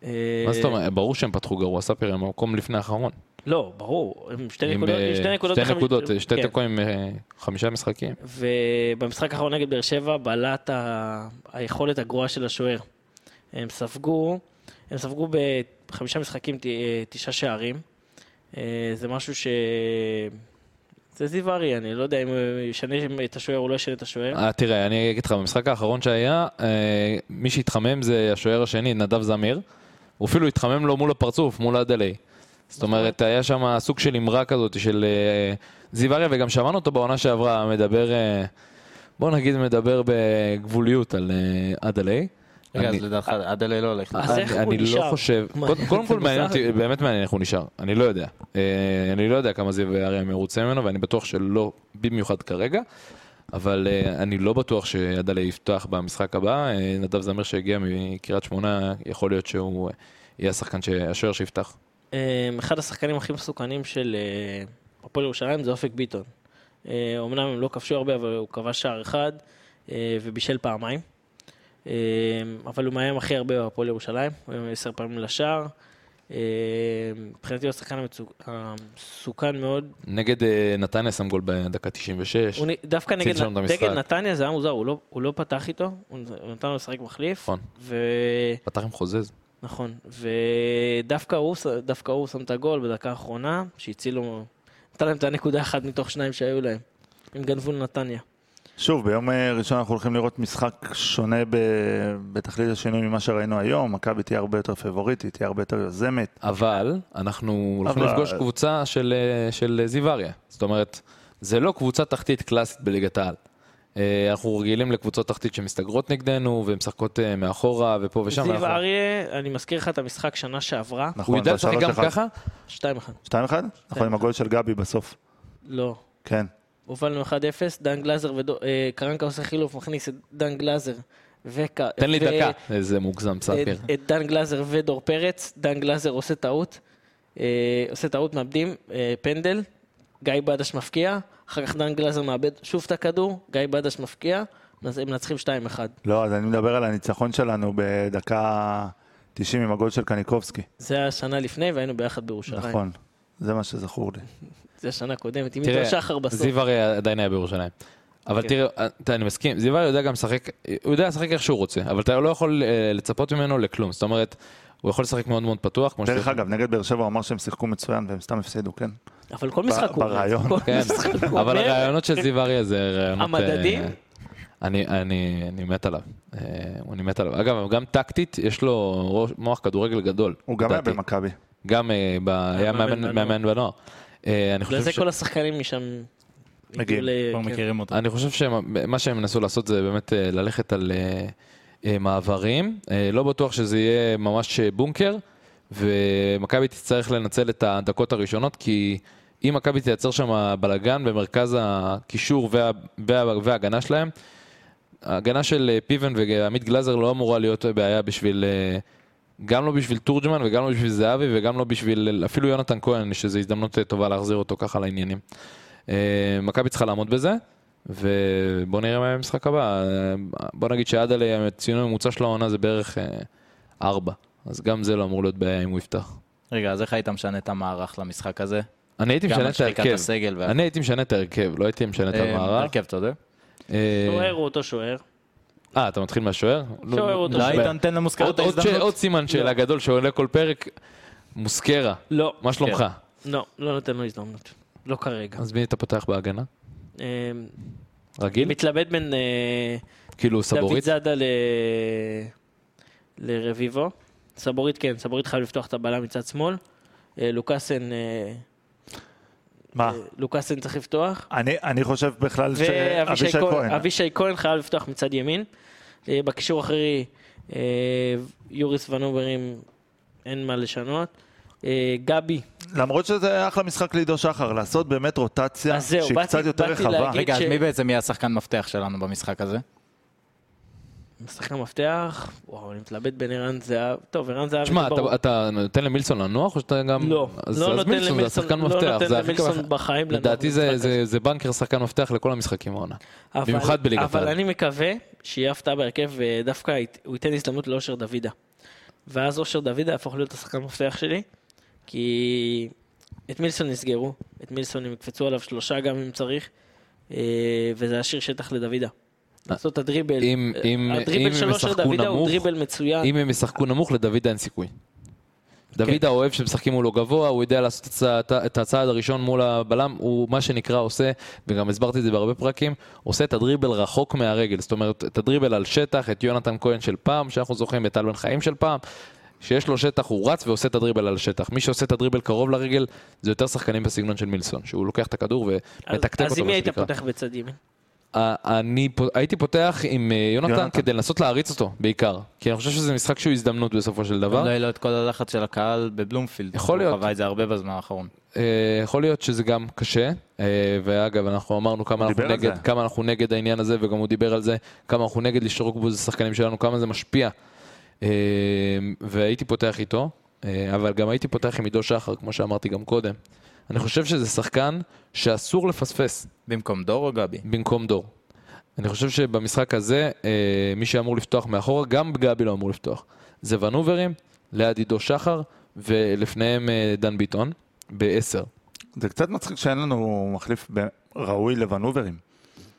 C: אה,
B: מה זאת אומרת? ברור שהם פתחו גרוע, ספיר הם במקום לפני האחרון.
C: לא, ברור, הם שתי
B: עם,
C: נקודות,
B: אה,
C: שתי נקודות,
B: שתי
C: בחמש-
B: נקודות, אה, שתי
C: כן.
B: תיקו עם אה, חמישה משחקים.
C: ובמשחק האחרון נגד באר שבע בלט ה... היכולת הגרועה של השוער. הם ספגו, הם ספגו בחמישה משחקים ת... אה, תשעה שערים. אה, זה משהו ש... זה זיו ארי, אני לא יודע אם הוא ישנה את השוער או לא ישנה את השוער.
B: אה, תראה, אני אגיד לך, במשחק האחרון שהיה, אה, מי שהתחמם זה השוער השני, נדב זמיר. הוא אפילו התחמם לו מול הפרצוף, מול הדלי. זאת
C: נכון.
B: אומרת, היה שם סוג של אמרה כזאת של אה, זיו אריה, וגם שמענו אותו בעונה שעברה, מדבר, אה, בוא נגיד, מדבר בגבוליות על אה, אדלי.
D: רגע, אז
B: אני-
D: לדעתך עד אלה לא הולך.
C: אז
B: אני-
C: איך הוא
B: אני
C: נשאר?
B: לא חושב,
C: מה,
B: קודם- קודם
C: זה
B: כל מעניין
C: מוזר.
B: אותי, באמת מעניין איך הוא נשאר, אני לא יודע. אה, אני לא יודע כמה זיו אריה מרוצה ממנו, ואני בטוח שלא במיוחד כרגע, אבל אה, אני לא בטוח שידלה יפתח במשחק הבא. אה, נדב זמיר שהגיע מקריית שמונה, יכול להיות שהוא אה, יהיה השחקן, ש- השוער שיפתח.
C: אה, אחד השחקנים הכי מסוכנים של אה, הפועל ירושלים זה אופק ביטון. אה, אומנם הם לא כבשו הרבה, אבל הוא כבש שער אחד אה, ובישל פעמיים. אה, אבל הוא מאיים הכי הרבה בהפועל ירושלים, הוא מאיים עשר פעמים לשער. אה, מבחינתי הוא השחקן המצוק- המסוכן מאוד.
B: נגד אה, נתניה שם גול בדקה 96.
C: הוא נ- דווקא
B: הציל
C: נגד
B: שם את
C: נ-
B: המשחק.
C: נגד נתניה זה היה מוזר, הוא לא- הוא לא פתח איתו, הוא נ- הוא נתן לו לשחק מחליף.
B: נכון.
C: ו-
B: פתח עם חוזז.
C: נכון, ודווקא הוא, דווקא הוא שם את הגול בדקה האחרונה, שהציל לו, נתן להם את הנקודה אחת מתוך שניים שהיו להם. הם גנבו לנתניה.
A: שוב, ביום אה, ראשון אנחנו הולכים לראות משחק שונה ב- בתכלית השינוי ממה שראינו היום. מכבי תהיה הרבה יותר פבוריטית, תהיה הרבה יותר יוזמת.
B: אבל אנחנו הולכים
A: אבל-
B: לפגוש קבוצה של, אה, של זיו אריה. זאת אומרת, זה לא קבוצה תחתית קלאסית בליגת העל. אה, אנחנו רגילים לקבוצות תחתית שמסתגרות נגדנו ומשחקות אה, מאחורה ופה ושם. נכון.
C: זיו
B: ואנחנו-
C: אריה, אני מזכיר לך את המשחק שנה שעברה,
A: נכון,
B: הוא יודע לשחק גם ככה? כן.
C: 2-1.
A: 2-1? נכון, עם הגול של גבי בסוף.
C: לא.
A: כן.
C: הובלנו 1-0, דן גלאזר וקרנקה עושה חילוף, מכניס את דן גלאזר וכ...
B: תן לי
C: ו-
B: דקה. איזה מוגזם,
C: את,
B: ספיר.
C: אה, את דן גלאזר ודור פרץ, דן גלאזר עושה טעות, אה, עושה טעות, מאבדים, אה, פנדל, גיא בדש מפקיע, אחר כך דן גלזר מאבד שוב את הכדור, גיא בדש מפקיע, אז הם מנצחים 2-1.
A: לא, אז אני מדבר על הניצחון שלנו בדקה 90 עם הגול של קניקובסקי.
B: כן.
C: זה היה שנה לפני והיינו ביחד בירושלים.
A: נכון, זה מה שזכור לי.
C: זה השנה הקודמת, עם
B: תראה,
C: איתו שחר בסוף.
B: זיו הרי עדיין היה בירושלים. אבל
C: כן.
B: תראה, אה, אתה- אני מסכים, זיו הרי יודע גם לשחק, הוא יודע לשחק איך שהוא רוצה, אבל אתה לא יכול אה, לצפות ממנו לכלום. זאת אומרת, הוא יכול לשחק מאוד מאוד פתוח, כמו
A: דרך
B: שאתה-
A: אגב, נגד באר שבע הוא אמר שהם שיחקו מצוין והם סתם הפסידו, כן?
C: אבל כל משחק הוא...
A: ברעיון.
C: כל
B: כן,
C: משחק הוא
B: אבל
C: אומר,
B: הרעיונות של זיו אריה זה רעיונות...
C: המדדים?
B: אה, אני, אני, אני מת עליו, אה, אני מת עליו. אגב, גם טקטית, יש לו ראש, מוח כדורגל גדול.
A: הוא גם היה
B: לדעתי.
A: במכבי.
B: גם אה, ב... היה מאמן-
C: בנוער.
B: מאמן בנוער. אה, אני
C: בגלל
B: חושב
C: זה
B: ש...
C: כל השחקנים משם... הגיעו
A: מגיעים,
C: ל-
E: כבר
C: כן.
E: מכירים אותו.
B: אני חושב שמה שהם ינסו לעשות זה באמת אה, ללכת על אה, אה, מעברים. אה, לא בטוח שזה יהיה ממש אה, בונקר, ומכבי תצטרך לנצל את הדקות הראשונות, כי אם מכבי תייצר שם בלאגן במרכז הקישור וה, וה, וההגנה שלהם, ההגנה של אה, פיבן ועמית גלאזר לא אמורה להיות בעיה בשביל... אה, גם לא בשביל תורג'מן וגם לא בשביל זהבי וגם לא בשביל אפילו יונתן כהן, שזו הזדמנות אה, טובה להחזיר אותו ככה לעניינים. אה, מכבי צריכה לעמוד בזה, ובוא נראה מה יהיה המשחק הבא. אה, בוא נגיד שעד עלי הציון הממוצע של העונה זה בערך אה, ארבע. אז גם זה לא אמור להיות בעיה אם הוא יפתח.
D: רגע, אז איך היית משנה את המערך למשחק הזה?
B: אני הייתי
D: גם
B: משנה
D: על
B: את
D: שחיקת
B: ההרכב.
D: הסגל והכל.
B: אני הייתי משנה את ההרכב, לא הייתי משנה את
D: אה,
B: המערך.
D: הרכב, אתה יודע?
B: אה,
C: שוער הוא אותו שוער.
B: אה, אתה מתחיל מהשוער? לא,
C: שוער
B: לא,
C: אותו
B: לא,
E: לא היית
B: בעיה.
E: נותן למוסקרות
B: עוד- עוד ש-
E: הזדמנות?
B: עוד סימן
D: לא.
B: שאלה גדול שעולה כל פרק, מוסקרה,
C: לא,
B: מה שלומך?
C: לא, לא נותן לו הזדמנות. לא כרגע.
B: אז מי אתה פותח בהגנה?
C: אה,
B: רגיל?
C: מתלבט בין אה,
B: כאילו
C: דוד
B: סבורית?
C: זאדה ל... לרביבו. סבורית כן, סבורית חייב לפתוח את הבלם מצד שמאל. אה, לוקאסן, אה,
A: מה?
C: אה, לוקאסן צריך
B: אה,
C: לפתוח.
A: אני, אני חושב בכלל
C: ואבישי
A: שאבישי
C: כהן,
A: כהן.
C: אבישי כהן חייב לפתוח מצד ימין. אה, בקישור האחורי, אה, יוריס ונוברים, אין מה לשנות. אה, גבי,
A: למרות שזה אחלה משחק לעידו שחר, לעשות באמת רוטציה
C: אז זהו,
A: שהיא
C: באתי-
A: קצת יותר
C: באתי
A: רחבה.
C: להגיד-
D: רגע, אז
C: ש-
D: מי בעצם יהיה השחקן מפתח שלנו במשחק הזה?
C: שחקן מפתח. וואו, אני מתלבט בין ערן זהב. טוב, ערן זהב...
B: תשמע,
C: זה ברור.
B: אתה- אתה נותן למילסון לנוח או שאתה גם...
C: לא,
B: אז-
C: לא
B: אז
C: נותן
B: מילסון זה
C: למילסון,
B: השחקן
C: לא
B: מפתח,
C: נותן
B: זה הכי ככה.
C: למילסון בחיים. לנוח
B: לדעתי זה-
C: במשחק הזה.
B: זה זה בנקר שחקן מפתח לכל המשחקים העונה.
C: אבל-
B: במיוחד בליגת
C: אבל
B: העל.
C: אני מקווה שיהיה הפתעה בהרכב, ודווקא ית- הוא ייתן הזדמנות לאושר דוידה. ואז אושר דוידה יהפוך להיות השחקן המפתח שלי, כי את מילסון יסגרו, את מילסון הם יקפצו עליו שלושה גם אם צריך, אה, וזה ישאיר שטח לדוידה. לעשות את הדריבל.
B: אה, אם-
C: אה,
B: אם- אם
C: הדריבל
B: הם
C: של אושר
B: ישחקו
C: דוידה הוא
B: נמוך,
C: דריבל מצוין.
B: אם הם ישחקו נמוך, לדוידה אין סיכוי. דוידה אוהב שמשחקים מולו גבוה, הוא יודע לעשות את הצע- את הצעד הראשון מול הבלם, הוא מה שנקרא עושה, וגם הסברתי את זה בהרבה פרקים, עושה את הדריבל רחוק מהרגל, זאת אומרת, את הדריבל על שטח, את יונתן כהן של פעם, שאנחנו זוכרים, את טל בן חיים של פעם, שיש לו שטח הוא רץ ועושה את הדריבל על השטח. מי שעושה את הדריבל קרוב לרגל, זה יותר שחקנים בסגנון של מילסון, שהוא לוקח את הכדור
C: אז-
B: ומתקתק
C: אז
B: אותו,
C: אם
B: מה
C: מי היית
B: שנקרא.
C: פותח בצד ימין?
B: אה, אני פו- הייתי פותח עם אה, יונתן
A: יונתן.
B: כדי לנסות להריץ אותו בעיקר, כי אני חושב שזה משחק שהוא הזדמנות בסופו של
D: לא
B: דבר.
D: יהיה לו את כל הלחץ של הקהל בבלומפילד.
B: יכול
D: הוא
B: להיות.
D: חווה את זה הרבה בזמן האחרון.
B: אה, יכול להיות שזה גם קשה, אה, ואגב, אנחנו אמרנו כמה
A: הוא
B: אנחנו,
A: דיבר על
B: נגד,
A: זה.
B: כמה אנחנו נגד העניין הזה, וגם הוא דיבר על זה, כמה אנחנו נגד לשרוק בו זה שחקנים שלנו, כמה זה משפיע. אה, והייתי פותח איתו, אה, אבל גם הייתי פותח עם עידו שחר, כמו שאמרתי גם קודם. אני חושב שזה שחקן שאסור לפספס.
D: במקום דור או גבי?
B: במקום דור. אני חושב שבמשחק הזה, אה, מי שאמור לפתוח מאחורה, גם גבי לא אמור לפתוח. זה ונוברים, ליד עידו שחר, ולפניהם אה, דן ביטון, בעשר.
A: זה קצת מצחיק שאין לנו מחליף ב- ראוי לוונוברים.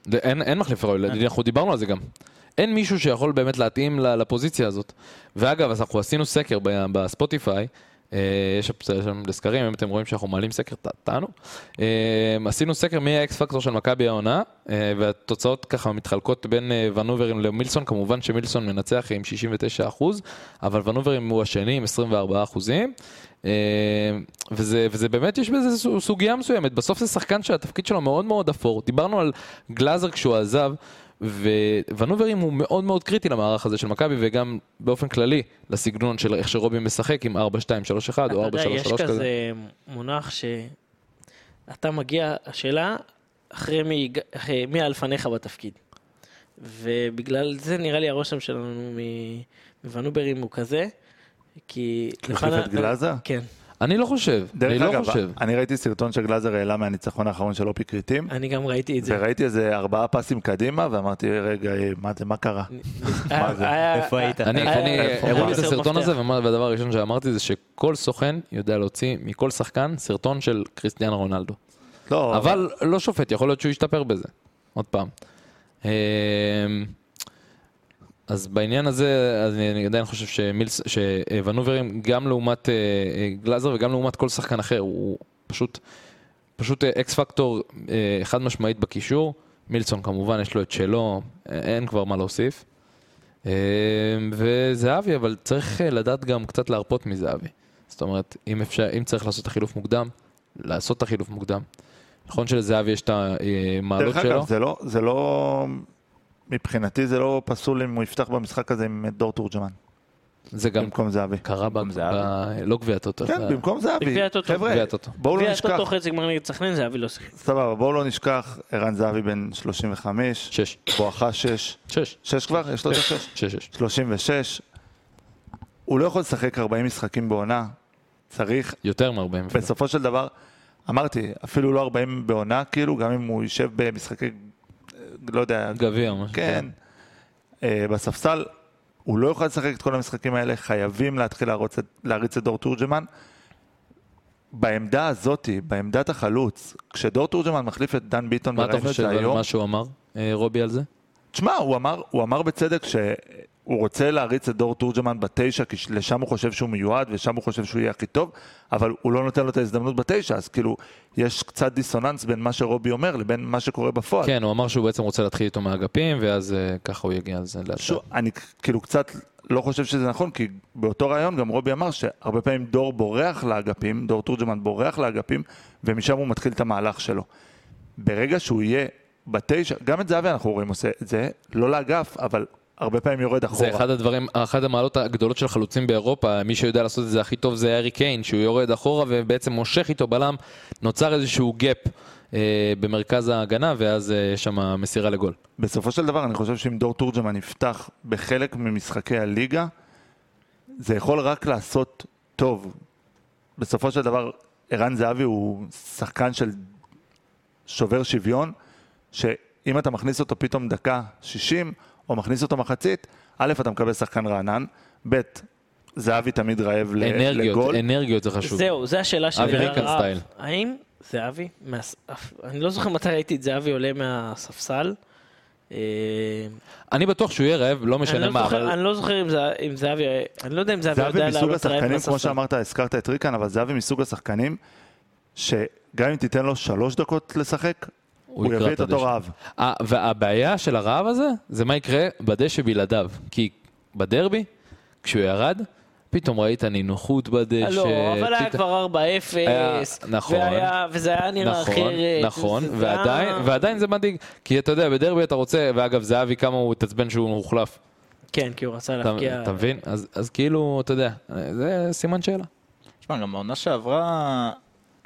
B: זה- אין, אין מחליף ראוי, אנחנו דיברנו על זה גם. אין מישהו שיכול באמת להתאים ל- לפוזיציה הזאת. ואגב, אז אנחנו עשינו סקר ב- בספוטיפיי, אה, יש אפ- שם לסקרים, אם אתם רואים שאנחנו מעלים סקר, ת- תענו. אה, עשינו סקר מי האקס פקטור של מכבי העונה, אה, והתוצאות ככה מתחלקות בין אה, ונוברים למילסון, כמובן שמילסון מנצח עם 69%, אבל ונוברים הוא השני עם 24%. אה, וזה, וזה באמת, יש בזה סו- סוגיה מסוימת. בסוף זה שחקן שהתפקיד שלו מאוד מאוד אפור. דיברנו על גלאזר כשהוא עזב, וונוברים הוא מאוד מאוד קריטי למערך הזה של מכבי, וגם באופן כללי לסגנון של איך שרובי משחק עם 4-2-3-1 או 4-3-3
C: אתה יודע, יש
B: כזה.
C: כזה מונח שאתה מגיע, השאלה, אחרי מי, הג- אחרי- מי היה לפניך בתפקיד. ובגלל זה נראה לי הרושם שלנו מ- מוונוברים הוא כזה, כי...
A: החליף
C: לפני-
A: את גלאזר?
C: כן.
B: אני לא חושב, אני
A: דרך
B: לא
A: אגב,
B: חושב.
A: אני ראיתי סרטון שגלאזר העלה מהניצחון האחרון של אופי כריתים,
C: אני גם ראיתי את זה.
A: וראיתי איזה ארבעה פסים קדימה, ואמרתי, רגע, אה, מה זה, מה קרה?
C: היה- אה, היה-
F: איפה היית?
B: אני,
C: אה,
B: אני,
A: אה,
B: הראו לי
A: אה,
B: את
C: אה,
B: הסרטון
C: מפתח.
B: הזה, ומה- והדבר הראשון שאמרתי זה שכל סוכן יודע להוציא מכל שחקן סרטון של קריסטיאן רונלדו.
A: לא,
C: אוקיי.
B: אבל לא שופט, יכול להיות שהוא ישתפר בזה. עוד פעם. אמ, אז בעניין הזה, אז אני אני עדיין חושב שמילס, שוונוברים, גם לעומת אה, אה, גלאזר וגם לעומת כל שחקן אחר, הוא פשוט, פשוט אה, אקס פקטור אה, חד משמעית בקישור. מילסון כמובן, יש לו את שלו, אה, אין כבר מה להוסיף. אה, וזהבי, אבל צריך אה, לדעת גם קצת להרפות מזהבי. זאת אומרת, אם, אפשר, אם צריך לעשות את החילוף מוקדם, לעשות את החילוף מוקדם. נכון שלזהבי יש את המעלות
A: דרך אגב,
B: שלו.
A: זה לא, זה לא, מבחינתי זה לא פסול אם הוא יפתח במשחק הזה עם דור תורג'מן,
B: זה גם כן.
A: במקום זהבי.
B: קרה ב...
D: זהבי.
B: ב- לא גביע הטוטו.
A: כן,
B: זה-
A: במקום זהבי.
C: בגביע הטוטו.
A: חבר'ה,
B: גביע הטוטו.
A: בואו לא
C: גביע
A: נשכח,
C: הטוטו חצי גמר נגד סכנין, זהבי לא שיחק.
A: סבבה, בואו לא נשכח, ערן זהבי בן 35,
B: שש.
A: בואכה 6,
B: שש.
A: 6 כבר? יש לו את ה-6?
B: שש. שש.
A: 36. הוא לא יכול לשחק 40 משחקים בעונה, צריך
B: יותר מ-40 אפילו.
A: בסופו של דבר, אמרתי, אפילו לא 40 בעונה, כאילו, גם אם הוא יישב במשחקי, אה, לא יודע,
B: גביע. מה
A: כן, אה, בספסל, הוא לא יוכל לשחק את כל המשחקים האלה, חייבים להתחיל להרוץ, את- להריץ את דור תורג'מן. בעמדה הזאתי, בעמדת החלוץ, כשדור תורג'מן מחליף את דן ביטון
B: מה אתה
A: וראינו
B: חושב של
A: את זה
B: אבל
A: היום,
B: מה שהוא אמר, אה, רובי, על זה?
A: תשמע, הוא אמר, הוא אמר בצדק שהוא רוצה להריץ את דור תורג'מן בתשע, כי לשם הוא חושב שהוא מיועד, ושם הוא חושב שהוא יהיה הכי טוב, אבל הוא לא נותן לו את ההזדמנות בתשע, אז כאילו, יש קצת דיסוננס בין מה שרובי אומר לבין מה שקורה בפועל.
B: כן, הוא אמר שהוא בעצם רוצה להתחיל איתו מהאגפים, ואז אה, ככה הוא יגיע לזה לאט.
A: שוב, אני כאילו קצת לא חושב שזה נכון, כי באותו רעיון גם רובי אמר שהרבה פעמים דור בורח לאגפים, דור תורג'מן בורח לאגפים, ומשם הוא מתחיל את המהלך שלו. ברגע שהוא יהיה בתשע, גם את זהבי אנחנו רואים עושה את זה, לא לאגף, אבל הרבה פעמים יורד אחורה.
B: זה אחד הדברים, אחת המעלות הגדולות של חלוצים באירופה, מי שיודע לעשות את זה הכי טוב זה הארי קיין, שהוא יורד אחורה ובעצם מושך איתו בלם, נוצר איזשהו גאפ אה, במרכז ההגנה, ואז אה, יש שם מסירה לגול.
A: בסופו של דבר, אני חושב שאם דור תורג'מן יפתח בחלק ממשחקי הליגה, זה יכול רק לעשות טוב. בסופו של דבר, ערן זהבי הוא שחקן של שובר שוויון, שאם אתה מכניס אותו פתאום דקה 60, או מכניס אותו מחצית, א', אתה מקבל שחקן רענן, ב', זהבי תמיד רעב ל-
B: אנרגיות,
A: אה, לגול.
B: אנרגיות זה חשוב.
C: זהו, זו השאלה שלי.
B: אבי ריקן
C: הרב,
B: סטייל.
C: האם זהבי, מהס- אף- אני לא זוכר מתי ראיתי את זהבי עולה מהספסל. אה,
B: אני בטוח שהוא יהיה רעב, לא
C: אני
B: משנה
C: לא
B: מה,
C: זוכר-
B: אבל
C: אני לא זוכר אם זה- אם זהבי, אני לא יודע אם זהבי
A: זהבי
C: יודע
A: מסוג
C: לעלות רעב
A: השחקנים, כמו
C: מהספסל.
A: שאמרת, הזכרת את ריקן, אבל זהבי מסוג השחקנים, שגם אם תיתן לו שלוש דקות לשחק, הוא
B: יקרע
A: יביא את אותו
B: הדשא.
A: רעב.
B: אה, והבעיה של הרעב הזה, זה מה יקרה בדשא בלעדיו. כי בדרבי, כשהוא ירד, פתאום ראית נינוחות בדשא.
C: לא, אבל היה
B: פתאום-
C: כבר 4-0,
B: היה- נכון.
C: והיה- וזה היה נראה
B: נכון,
C: אחרת.
B: נכון,
C: וזה-
B: ועדיין,
C: אה,
B: ועדיין זה מדאיג, כי אתה יודע, בדרבי אתה רוצה, ואגב, זהבי כמה הוא התעצבן שהוא הוחלף,
C: כן, כי הוא רצה
B: אתה
C: להפקיע.
B: אתה מבין? אז אז כאילו, אתה יודע, זה סימן שאלה.
E: תשמע, גם בעונה שעברה,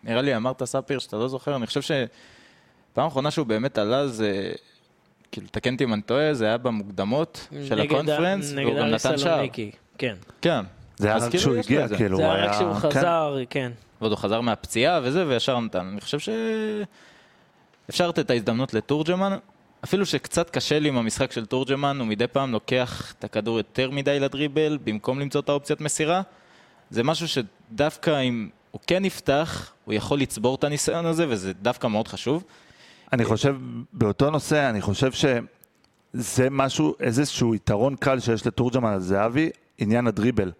E: נראה לי אמרת ספיר שאתה לא זוכר, אני חושב שפעם האחרונה שהוא באמת עלה זה, כאילו, תקן אותי אם אני טועה, זה היה במוקדמות של
C: נגד ה-
E: הקונפרנס, והוא
C: נגד
E: גם
C: אריק
E: נתן שער.
C: סלוניקי, כן.
E: כן.
A: זה היה
E: אז
A: רק
E: כאילו
A: כשהוא
E: יש לו
A: הגיע,
E: את זה.
A: כאילו,
C: זה
A: הוא
C: היה רק כשהוא
A: כן.
C: חזר, כן.
E: ועוד הוא חזר מהפציעה וזה, וישר נתן. אני חושב ש... אפשר לתת את ההזדמנות לתורג'מן. אפילו שקצת קשה לי עם המשחק של תורג'מן, הוא מדי פעם לוקח את הכדור יותר מדי לדריבל, במקום למצוא את האופציית מסירה. זה משהו שדווקא אם הוא כן יפתח, הוא יכול לצבור את הניסיון הזה, וזה דווקא מאוד חשוב.
A: אני חושב, באותו נושא, אני חושב שזה משהו, איזשהו יתרון קל שיש לתורג'מן על זהבי, עניין הדריבל.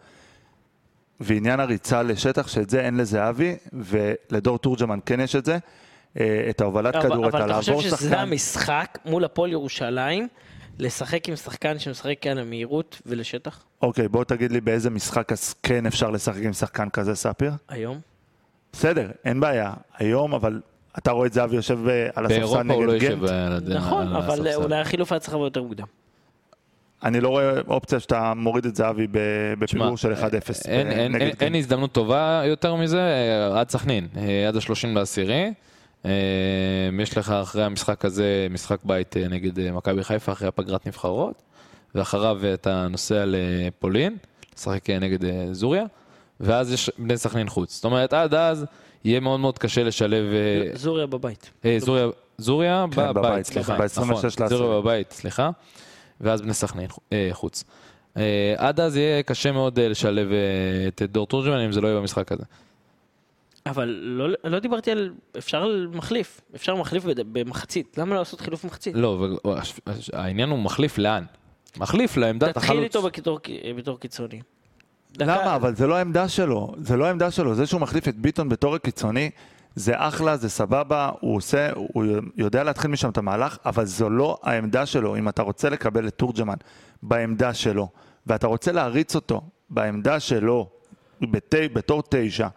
A: ועניין הריצה לשטח, שאת זה אין לזהבי, ולדור תורג'מן כן יש את זה. אה, את ההובלת
C: אבל
A: כדור, את
C: אבל אתה חושב
A: הלעבור
C: שזה
A: שחקן.
C: המשחק מול הפועל ירושלים, לשחק עם שחקן שמשחק כאן למהירות ולשטח
A: אוקיי, בוא תגיד לי באיזה משחק אז כן אפשר לשחק עם שחקן כזה, ספיר?
C: היום?
A: בסדר, אין בעיה. היום, אבל אתה רואה את זהבי יושב אה, על הספסל
B: באירופה הוא לא
A: נגד
B: יושב
A: גנט?
B: על הדין.
C: נכון, אבל אה, אולי החילוף היה צריך לבוא יותר מוקדם.
A: אני לא רואה אופציה שאתה מוריד את זהבי ב- בפיגור של 1-0
B: אין,
A: אה,
B: אין,
A: נגד
B: אין,
A: גנט.
B: אין הזדמנות טובה יותר מזה, אה, עד סכנין, אה, עד השלושים לעשירי. אה, יש לך אחרי המשחק הזה, משחק בית אה, נגד אה, מכבי חיפה, אחרי הפגרת נבחרות, ואחריו אה, אתה נוסע לפולין, לשחק אה, נגד אה, זוריה, ואז יש בני סכנין חוץ. זאת אומרת, עד אז יהיה מאוד מאוד קשה לשלב... אה,
C: זוריה בבית.
B: אה, זוריה, זוריה
A: כן,
B: בבית,
A: בבית,
B: סליחה.
A: ב- 26
B: נכון, זוריה
A: לעשרה.
B: בבית, סליחה. ואז בני סכנין אה, חוץ. אה, עד אז יהיה קשה מאוד אה, לשלב אה, את דור תורג'מן אם זה לא יהיה במשחק הזה.
C: אבל לא, לא דיברתי על... אפשר על מחליף. אפשר מחליף בד- במחצית. למה לא לעשות חילוף מחצית?
B: לא, אבל העניין הוא מחליף לאן. מחליף לעמדת החלוץ.
C: תתחיל איתו בתור, בתור קיצוני. דקה-
A: למה? אבל זה לא העמדה שלו. זה לא העמדה שלו. זה שהוא מחליף את ביטון בתור הקיצוני, זה אחלה, זה סבבה, הוא עושה, הוא יודע להתחיל משם את המהלך, אבל זו לא העמדה שלו. אם אתה רוצה לקבל את תורג'מן בעמדה שלו, ואתה רוצה להריץ אותו בעמדה שלו, בת, בתור תשע,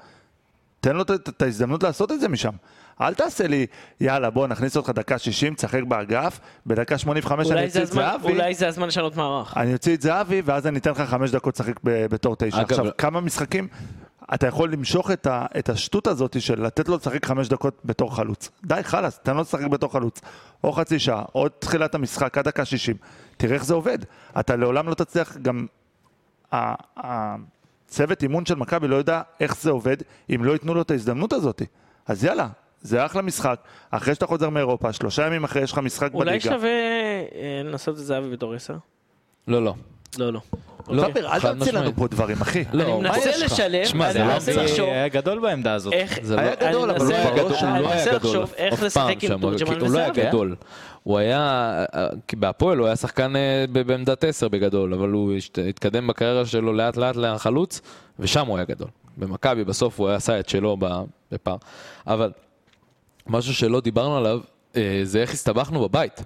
A: תן לו את- את ההזדמנות לעשות את זה משם. אל תעשה לי, יאללה, בוא נכניס אותך דקה 60, תשחק באגף, בדקה 85 אני
C: אולי זה
A: אוציא את
C: הזמן-
A: זהבי.
C: אולי זה הזמן לשנות מערך.
B: אה,
A: אני אוציא את זהבי, ואז אני אתן לך חמש דקות לשחק ב- בתור תשע.
B: אגב,
A: עכשיו,
B: לא-
A: כמה משחקים אתה יכול למשוך את, ה, את השטות הזאת של לתת לו לשחק חמש דקות בתור חלוץ? די, חלאס, תן לו לשחק בתור חלוץ. או חצי שעה, או תחילת המשחק, עד דקה שישים. תראה איך זה עובד. אתה לעולם לא תצליח, גם ה- ה- צוות אימון של מכבי לא יודע איך זה עובד, אם לא ייתנו לו את ההזדמנות הזאת. אז יאללה. זה אחלה משחק, אחרי שאתה חוזר מאירופה, שלושה ימים אחרי יש לך משחק
C: אולי
A: בליגה.
C: שווה אה, לנסות את זהבי בתור עשר?
B: לא, לא.
C: לא, לא.
B: לא,
A: פאבר, אל
B: חד
A: תמציא לנו
B: משמעית.
A: פה דברים, אחי.
B: לא,
C: אני
B: מה
C: מנסה
B: יש לך?
C: לשלב,
B: שמע, זה
C: אני
B: לא
C: מנסה
B: המצאה.
C: לחשוב.
E: היה אה, גדול בעמדה הזאת.
C: איך...
B: זה לא-
A: היה
C: אני
A: גדול, אבל
C: מנסה-
A: הוא היה גדול.
B: הוא לא
C: אני
B: היה
C: מנסה
B: גדול
C: לחשוב איך
B: אף
C: לשחק
B: פעם
C: עם אה?
B: שם,
C: תורג'מן
B: כי הוא לא היה
C: וזהבי.
B: גדול. הוא היה, כי בהפועל הוא היה שחקן אה, ב- בעמדת 10 בגדול, אבל הוא השת- התקדם בקריירה שלו לאט לאט לחלוץ, ושם הוא היה גדול. במכבי בסוף הוא עשה את שלו ב- בפער. אבל משהו שלא דיברנו עליו, אה, זה איך הסתבכנו בבית.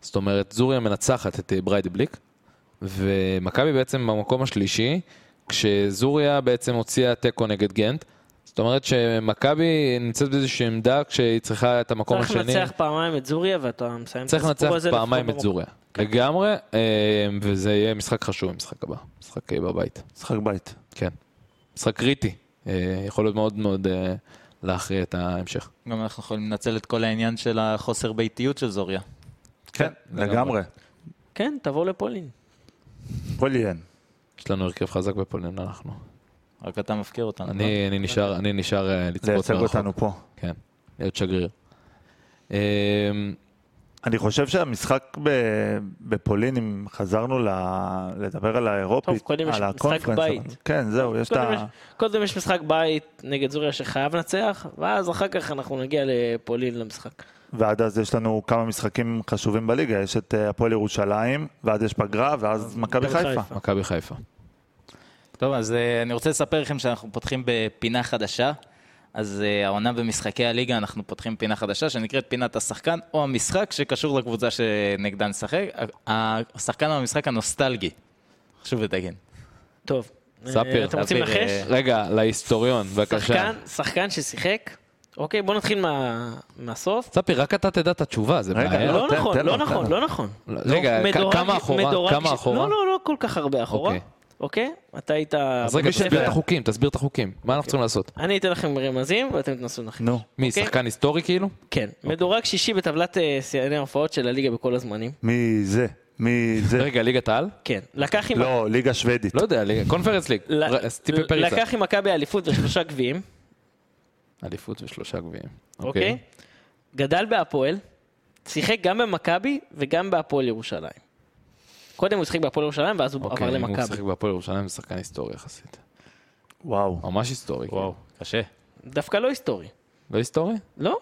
B: זאת אומרת, זוריה מנצחת את אה, בריידבליק, ומכבי בעצם במקום השלישי, כשזוריה בעצם הוציאה תיקו נגד גנט. זאת אומרת שמכבי נמצאת באיזושהי עמדה כשהיא צריכה את המקום
C: צריך
B: השני.
C: לנצח פעמיים את זוריה ואתה מסיים את
B: צריך לנצח
C: הסיפור הזה. כן. לפחות
B: פעמיים את
C: ברור.
B: זוריה. לגמרי, אה, וזה יהיה משחק חשוב במשחק הבא. משחק אה, בבית.
A: משחק בית.
B: כן. משחק קריטי. אה, יכול להיות מאוד מאוד אה, להכריע את ההמשך.
E: גם אנחנו יכולים לנצל את כל העניין של החוסר ביתיות של זוריה.
A: כן, לגמרי.
C: כן, תבוא לפולין.
A: פוליאן.
B: יש לנו הרכב חזק בפולין, אנחנו.
E: רק אתה מפקיר אותנו. לא?
B: אני אני נשאר אני נשאר אה, לצפות
A: נכון. לייצג
B: מרחוק.
A: אותנו פה.
B: כן. להיות שגריר. אה,
A: אני חושב שהמשחק ב- בפולין, אם חזרנו ל- לדבר על האירופית,
C: טוב, קודם יש
A: על
C: משחק
A: הקונפרנס,
C: בית.
A: אבל- כן, זהו, יש את
C: קודם
A: ה...
C: יש- קודם יש משחק בית נגד זוריה שחייב לנצח, ואז אחר כך אנחנו נגיע לפולין למשחק.
A: ועד אז יש לנו כמה משחקים חשובים בליגה. יש את אה, הפועל ירושלים, ואז יש פגרה, ואז מכבי
C: מכבי
A: חיפה.
C: חיפה.
B: מכבי חיפה.
C: אה,
E: טוב, אז אה, אני רוצה לספר לכם שאנחנו פותחים בפינה חדשה. אז אה, העונה במשחקי הליגה, אנחנו פותחים פינה חדשה שנקראת פינת השחקן או המשחק שקשור לקבוצה שנגדה נשחק. ה- השחקן או המשחק הנוסטלגי. חשוב לתגן.
D: אה,
C: טוב.
B: ספיר,
C: אה, אתם רוצים
E: ספיר,
C: לנחש?
E: אה,
B: רגע, להיסטוריון, בבקשה.
C: שחקן, שחקן ששיחק. אוקיי, בוא נתחיל מה- מהסוף.
B: ספי, רק אתה תדע את התשובה, זה
A: רגע,
B: בעיה.
A: לא,
C: לא
A: תן-
C: נכון,
A: תן
C: לא
A: לו, תן
C: נכון,
A: לו.
C: לא נכון.
B: רגע, כ-
C: מדורג-
B: כמה אחורה?
C: מדורג
B: כמה
C: ש-
B: אחורה?
C: לא, לא, לא כל כך הרבה אחורה.
B: אוקיי.
C: אוקיי? אתה היית...
B: אז רגע,
C: בבית
B: תסביר
C: ספר.
B: את החוקים, תסביר את החוקים. מה
C: אוקיי.
B: אנחנו צריכים לעשות?
C: אני אתן לכם רמזים ואתם תנסו לנחש.
A: נו,
B: מי,
C: אוקיי.
B: שחקן היסטורי כאילו?
C: כן, מדורג שישי בטבלת אה, שיאני ההופעות של הליגה בכל הזמנים.
A: מי זה? מי זה?
B: רגע, ליגת העל?
C: כן. לקח עם...
A: לא, ליגה שוודית.
B: לא יודע, ליגה- קונפרנס ליג.
C: ל-
B: ר- טיפי פריצה.
C: לקח עם מכבי אליפות ושלושה גביעים,
B: אליפות ושלושה גביעים.
C: אוקיי? גדל בהפועל, שיחק גם במכבי וגם בהפועל ירושלים. קודם הוא שיחק בהפועל ירושלים ואז הוא עבר
B: אוקיי, אם הוא
C: למכבי.
B: משחק בהפועל ירושלים זה שחקן היסטורי יחסית.
A: וואו.
B: ממש היסטורי. כאילו.
E: קשה.
C: דווקא לא היסטורי.
B: לא היסטורי?
C: לא?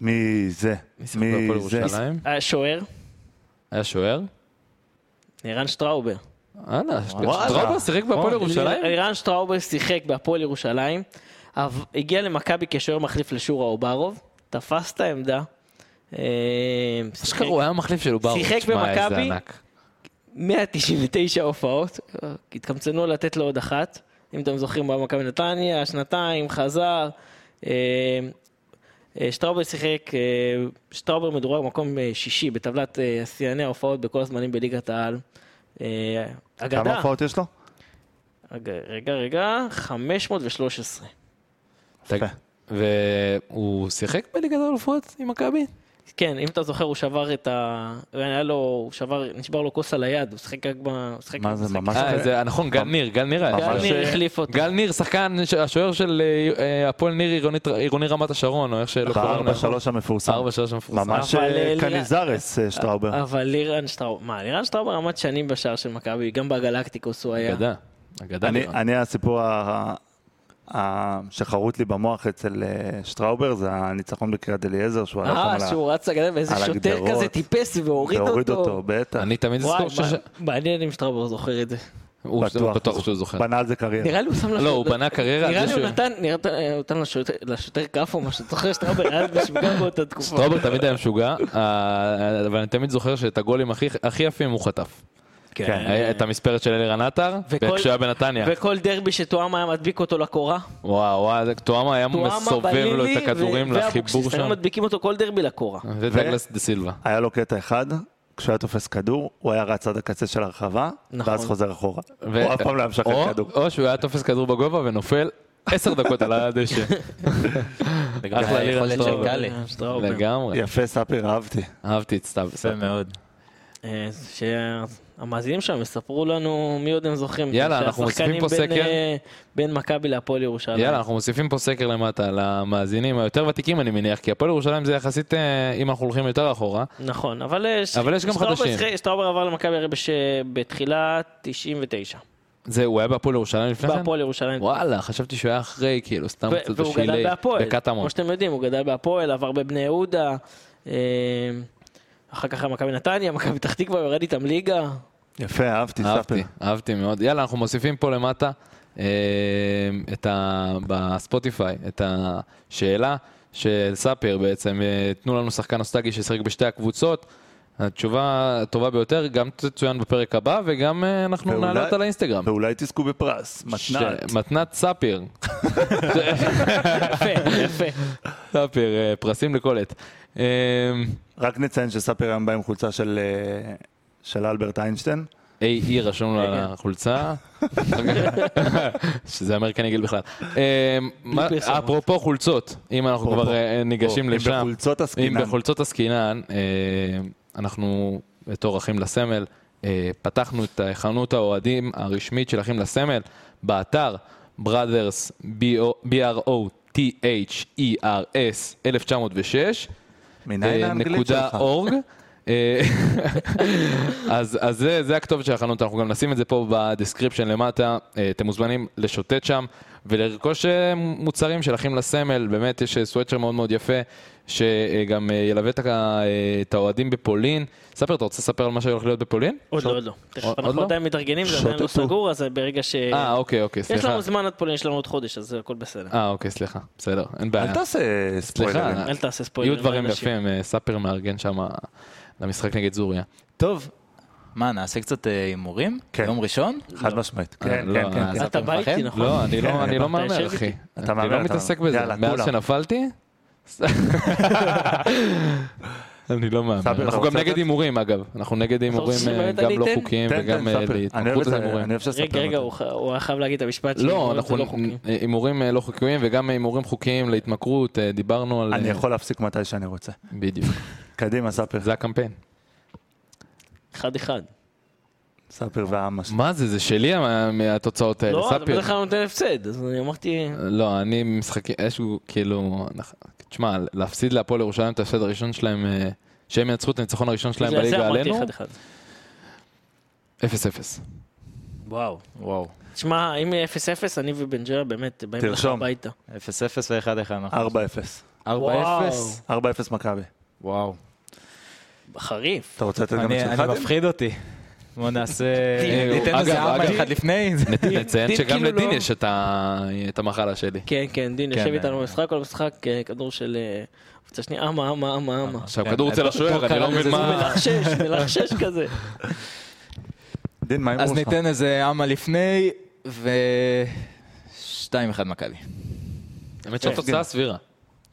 A: מי זה?
B: מי שיחק בהפועל
A: מי זה?
B: ירושלים?
C: השוער,
B: היה שוער?
C: ערן שטראובר.
B: וואלה, שטראובר שיחק בהפועל
C: נכון.
B: ירושלים?
C: ערן שטראובר שיחק בהפועל ירושלים, אב- הגיע למכבי כשוער מחליף לשורה אוברוב, תפס את העמדה. אה, שיחק
B: אשכרה הוא היה המחליף של אוברוב.
C: שיחק
B: תשמע, איזה
C: במכבי.
B: ענק.
C: 199 הופעות, אה, התקמצנו לתת לו עוד אחת. אם אתם זוכרים, הוא היה במכבי נתניה, שנתיים, חזר. אה, אה, שטראובר שיחק, אה, שטראובר מדורג מקום אה, שישי בטבלת אה, שיאני ההופעות בכל הזמנים בליגת העל. אה, אגדה.
A: כמה הופעות יש לו?
C: רגע, רגע, רגע, 513.
B: תג- והוא שיחק בליגת האלופות עם מכבי?
C: כן, אם אתה זוכר, הוא שבר את ה... היה לו, הוא שבר, נשבר לו כוס על היד, הוא שיחק רק ב... הוא שיחק
A: מה זה,
C: במשחק.
A: ממש
B: אה,
A: אחרי-
B: זה נכון, גל ניר, גל ניר היה.
C: גל
A: ממש-
C: ניר החליף אותו.
B: גל ניר, שחקן, ש- השוער של אה, אה, הפועל ניר עירונית- עירוני רמת השרון, או איך שלא קוראים
A: בארבע
B: לו.
A: שלוש המפורסם.
B: לא נכון. ארבע שלוש המפורסם.
A: ממש
C: אבל,
A: אה,
C: אה,
A: קניזרס אה, שטראובר.
C: אבל לירן שטראובר, מה, לירן שטראובר עמד שנים בשער של מכבי, גם בגלקטיקוס הוא היה.
B: אגדה. אגדה.
A: אני-
B: נראה.
A: אני הסיפור ה- ה- שחרוט לי במוח אצל אה, שטראובר זה הניצחון בקריית אליעזר שהוא הלך
C: אה,
A: שם על ה-
C: שהוא רץ לגדר ואיזה
A: על
C: שוטר
A: הגדרות.
C: כזה טיפס והוריד
A: והוריד
C: אותו.
A: בטח.
B: אני תמיד
C: וואי,
B: אזכור ש...
C: מה- מעניין אם שטראובר זוכר את זה.
A: כן.
B: הוא בטוח שהוא זוכר.
A: בנה על זה קריירה.
C: נראה לי הוא שם
B: לא,
C: לשו-
B: הוא בנה קריירה על
C: נראה
B: זה
C: לי הוא
B: שהוא-
C: נתן, נראה- אה, הוא נתן לשוטר- לשוטר כף או משהו, אתה זוכר שטראובר היה בשוגע באותה תקופה.
B: סטרובר תמיד היה משוגע, אה, אבל אני תמיד זוכר שאת הגולים הכי- הכי יפים הוא חטף. כן,
A: כן.
B: היה את המספרת של אלירן עטר,
C: אה. וכל-
B: כשהוא היה בנתניה.
C: וכל דרבי שטועמה היה מדביק אותו לקורה.
B: וואו, וואו, זה- טועמה היה מסובב לו את הכדורים לחיבור
C: היו
B: שם. אה,
C: מדביקים אותו כל דרבי לקורה.
B: ודגלס דה סילבה.
A: היה לו קטע אחד, כשהוא היה תופס כדור, הוא היה רץ עד הקצה של הרחבה,
C: נכון.
A: ואז חוזר אחורה.
B: ו-
A: הוא אף פעם לא היה משחרר
B: או-
A: כדור.
B: או שהוא היה תופס כדור בגובה ונופל עשר דקות על הדשא.
D: לגבי
B: אחלה לירן
D: היכולת של
B: שטראובר.
D: גלי.
C: אה, שטראובר.
B: לגמרי.
A: יפה, ספיר, אהבתי.
B: אהבתי את סתיו.
D: יפה מאוד.
C: אה, שהמאזינים שם יספרו לנו מי עוד הם זוכרים. אה,
B: יאללה, אנחנו
C: שהשחקנים
B: מוסיפים פה
C: בין,
B: סקר.
C: אה, בין מכבי להפועל ירושלים.
B: יאללה, אנחנו מוסיפים פה סקר למטה למאזינים היותר ותיקים אני מניח, כי הפועל ירושלים זה יחסית, אה, אם אנחנו הולכים יותר אחורה,
C: נכון, אבל, אה, ש-
B: אבל יש גם
C: שטראובר
B: חדשים.
C: שיחק- שטראובר עבר למכבי הרי בש- בתחילת 99.
B: זה, הוא היה בהפועל ירושלים לפני כן?
C: בהפועל ירושלים.
B: וואלה, חשבתי שהוא היה אחרי, כאילו, סתם
C: ו-
B: קצת
C: והוא גדל
B: שילי,
C: בהפועל.
B: בקטמון.
C: כמו שאתם יודעים, הוא גדל בהפועל, עבר בבני יהודה, אה, אחר כך היה מכבי נתניה, מכבי פתח תקווה, יורד איתם ליגה.
A: יפה, אהבתי, ספיר.
B: אהבתי, אהבתי מאוד. יאללה, אנחנו מוסיפים פה למטה, אה, את ה... בספוטיפיי, את השאלה של ספיר בעצם, אה, תנו לנו שחקן נוסטגי ששיחק בשתי הקבוצות. התשובה הטובה ביותר גם תצוין בפרק הבא וגם אה, אנחנו
A: ואולי-
B: נעלה אותה לאינסטגרם.
A: ואולי תזכו בפרס, מתנת.
B: ש- מתנת ספיר.
C: יפה, יפה.
B: ספיר, אה, פרסים לכל עת. אה,
A: רק נציין שספיר היום בא עם חולצה של... אה, של אלברט איינשטיין,
B: AE E רשום לו על החולצה, שזה אמריקן איגל בכלל. אה, מה-
C: פרסומות.
B: אפרופו חולצות, אם אנחנו
A: אפרופו.
B: כבר אה, ניגשים
A: אם
B: לשם,
A: בחולצות
B: אם
A: עסקינן.
B: בחולצות עסקינן, אה, אנחנו בתור אחים לסמל, אה, פתחנו את חנות האוהדים הרשמית של אחים לסמל באתר brothers, E B-R-O-T-H-E-R-S 1906.
A: מניין
B: אה,
A: האנגלית
B: נקודה
A: שלך?
B: אורג. אה, אז, אז זה, זה הכתובת של החנות, אנחנו גם נשים את זה פה בדסקריפשן למטה, אה, אתם מוזמנים לשוטט שם ולרכוש אה, מוצרים של אחים לסמל, באמת יש אה, סוואצ'ר מאוד מאוד יפה, שגם אה, ילווה את ה- אה, את האוהדים בפולין. ספר, אתה רוצה לספר על מה שהולך להיות בפולין?
C: עוד לא, עוד לא. תכף
B: עוד
C: אנחנו
B: לא?
C: עדיין מתארגנים, זה עדיין לא
A: שוטטו.
C: סגור, אז ברגע ש...
B: אה, אוקיי, אוקיי,
C: יש
B: סליחה.
C: לנו זמן עד פולין, יש לנו עוד חודש, אז הכל בסדר.
B: אה, אוקיי, סליחה, בסדר, אין בעיה.
A: אל תעשה ספוילרים.
B: סליחה,
C: אל תעשה ספוילר.
B: אה, יהיו דברים יפים, אה, ספר מארגן שם אה, למשחק נגד זוריה.
D: טוב, מה, נעשה קצת אה, הימורים?
A: כן.
D: יום ראשון?
A: חד משמעית.
B: אה,
A: כן,
B: לא,
A: כן, כן.
B: אה,
A: כן.
C: אתה
D: אתה
C: בא איתי,
D: מפחד?
C: נכון?
B: לא, אני לא- אני לא
C: אתה יושב
B: מהמר,
C: איתי.
B: אחי.
A: אתה
B: אני
A: מהמר,
B: לא
A: אתה
B: מתעסק
A: מהמר.
B: בזה.
A: יאללה,
B: מאז
A: כולם.
B: שנפלתי? אני לא
A: ספיר,
B: מהמר.
A: אתה
B: אנחנו
A: רוצה
B: גם נגד
A: לתת?
B: הימורים, אגב. אנחנו נגד הימורים
C: רוצה
B: אה,
C: שבאמת אני
B: גם לא
C: אתן?
B: חוקיים
A: תן,
B: וגם
A: תן,
B: אה,
A: ספיר. אני
B: להתמחות
A: אוהב את זה,
B: להימורים.
A: אני אוהב שספיר.
C: רגע, רגע, הוא ח- הוא היה חייב להגיד את המשפט שלו.
B: לא, אנחנו
C: לא חוקי.
B: אה, הימורים אה, לא חוקיים וגם הימורים חוקיים להתמכרות, אה, דיברנו על...
A: אני
B: אה,
A: יכול להפסיק מתי שאני רוצה.
B: בדיוק.
A: קדימה, ספיר.
B: זה הקמפיין.
C: אחד אחד.
A: ספיר והעם השני.
B: מה זה, זה שלי המ- מהתוצאות האלה,
C: לא, אתה
B: ספיר.
C: בדרך כלל נותן הפסד, אז אני אמרתי...
B: לא, אני משחק איזשהו, כאילו, אנחנו- תשמע, להפסיד להפועל ירושלים את ההפסד הראשון שלהם, אה, שהם ינצחו את הניצחון הראשון שלהם
C: בגלל זה
B: בליגה
C: אמרתי
B: עלינו,
C: אחד אחד.
B: 0-0.
C: וואו.
D: וואו.
C: תשמע, אם 0-0, אני ובן ג'רה באמת באים לך
A: תרשום.
C: הביתה.
E: 0-0 ו-1-1 אנחנו.
A: 4-0.
D: 4-0?
C: וואו.
A: 4-0 מכבי.
D: וואו.
C: חריף.
A: אתה רוצה לתת גם את
E: אני
A: שלך?
E: אני מפחיד אותי. בוא נעשה...
B: אה,
D: ניתן
B: אגב,
D: איזה ארבע
B: אגב.
D: אחד לפני.
B: נ- נציין
C: דין
B: שגם
C: כאילו
B: לדין
C: לא-
B: יש את ה- את המחלה שלי.
C: כן, כן, דין
D: כן,
C: יושב
D: אה.
C: איתנו במשחק, כל המשחק, אה, כדור של... אה, קבוצה שנייה, אמה, אמה, אמה, אמה.
B: עכשיו,
D: כן,
B: כדור
D: אה,
B: אצל השוער,
D: לא
B: אני לא
D: קרה
B: מבין
D: לזה,
C: הוא
B: מה...
C: מלחשש, מלחשש כזה.
A: דין, מה
D: אז
A: ההימור שלך?
D: ניתן איזה אמה לפני, ו... 2-1 מכבי.
C: אה,
B: האמת שהתוצאה סבירה.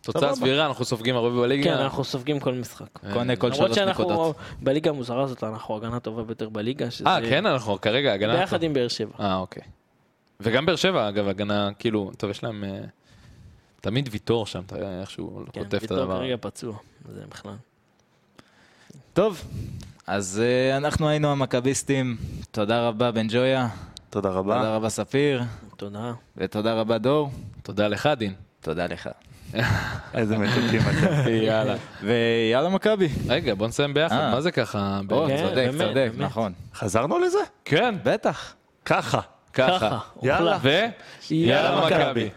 B: תוצאה
A: סבבה.
B: סבירה, אנחנו סופגים הרבה
C: כן,
B: בליגה.
C: אנחנו סופגים כל משחק.
B: אה,
D: קונה כל
C: למרות
D: שלוש
C: שאנחנו
D: נקודות.
C: בליגה המוזרה הזאת, אנחנו הגנה טובה ביותר בליגה. שזה-
B: אה, כן, אנחנו כרגע הגנה...
C: ביחד עם באר שבע.
B: אה, אוקיי. וגם באר שבע, אגב, הגנה, כאילו, טוב, יש להם... אה, תמיד ויטור שם, אתה יודע, איכשהו
C: כן,
B: חוטף את
C: ויטור
B: הדבר.
C: כרגע פצוע, זה בכלל.
D: טוב, אז אה, אנחנו היינו המכביסטים. תודה רבה, בן ג'ויה.
A: תודה רבה.
D: תודה רבה, ספיר.
C: תודה.
D: ותודה רבה, דור.
B: תודה לך, דין.
D: תודה לך.
A: איזה מתוקים אתם.
B: יאללה.
D: ויאללה, מכבי.
B: רגע, בוא נסיים ביחד,
D: אה.
B: מה זה ככה?
D: או,
C: כן,
D: צודק,
C: באמת,
D: צודק,
C: באמת.
D: נכון.
A: חזרנו לזה?
B: כן,
D: בטח.
A: ככה.
B: ככה.
C: ככה.
A: יאללה.
B: ו... יאללה מכבי.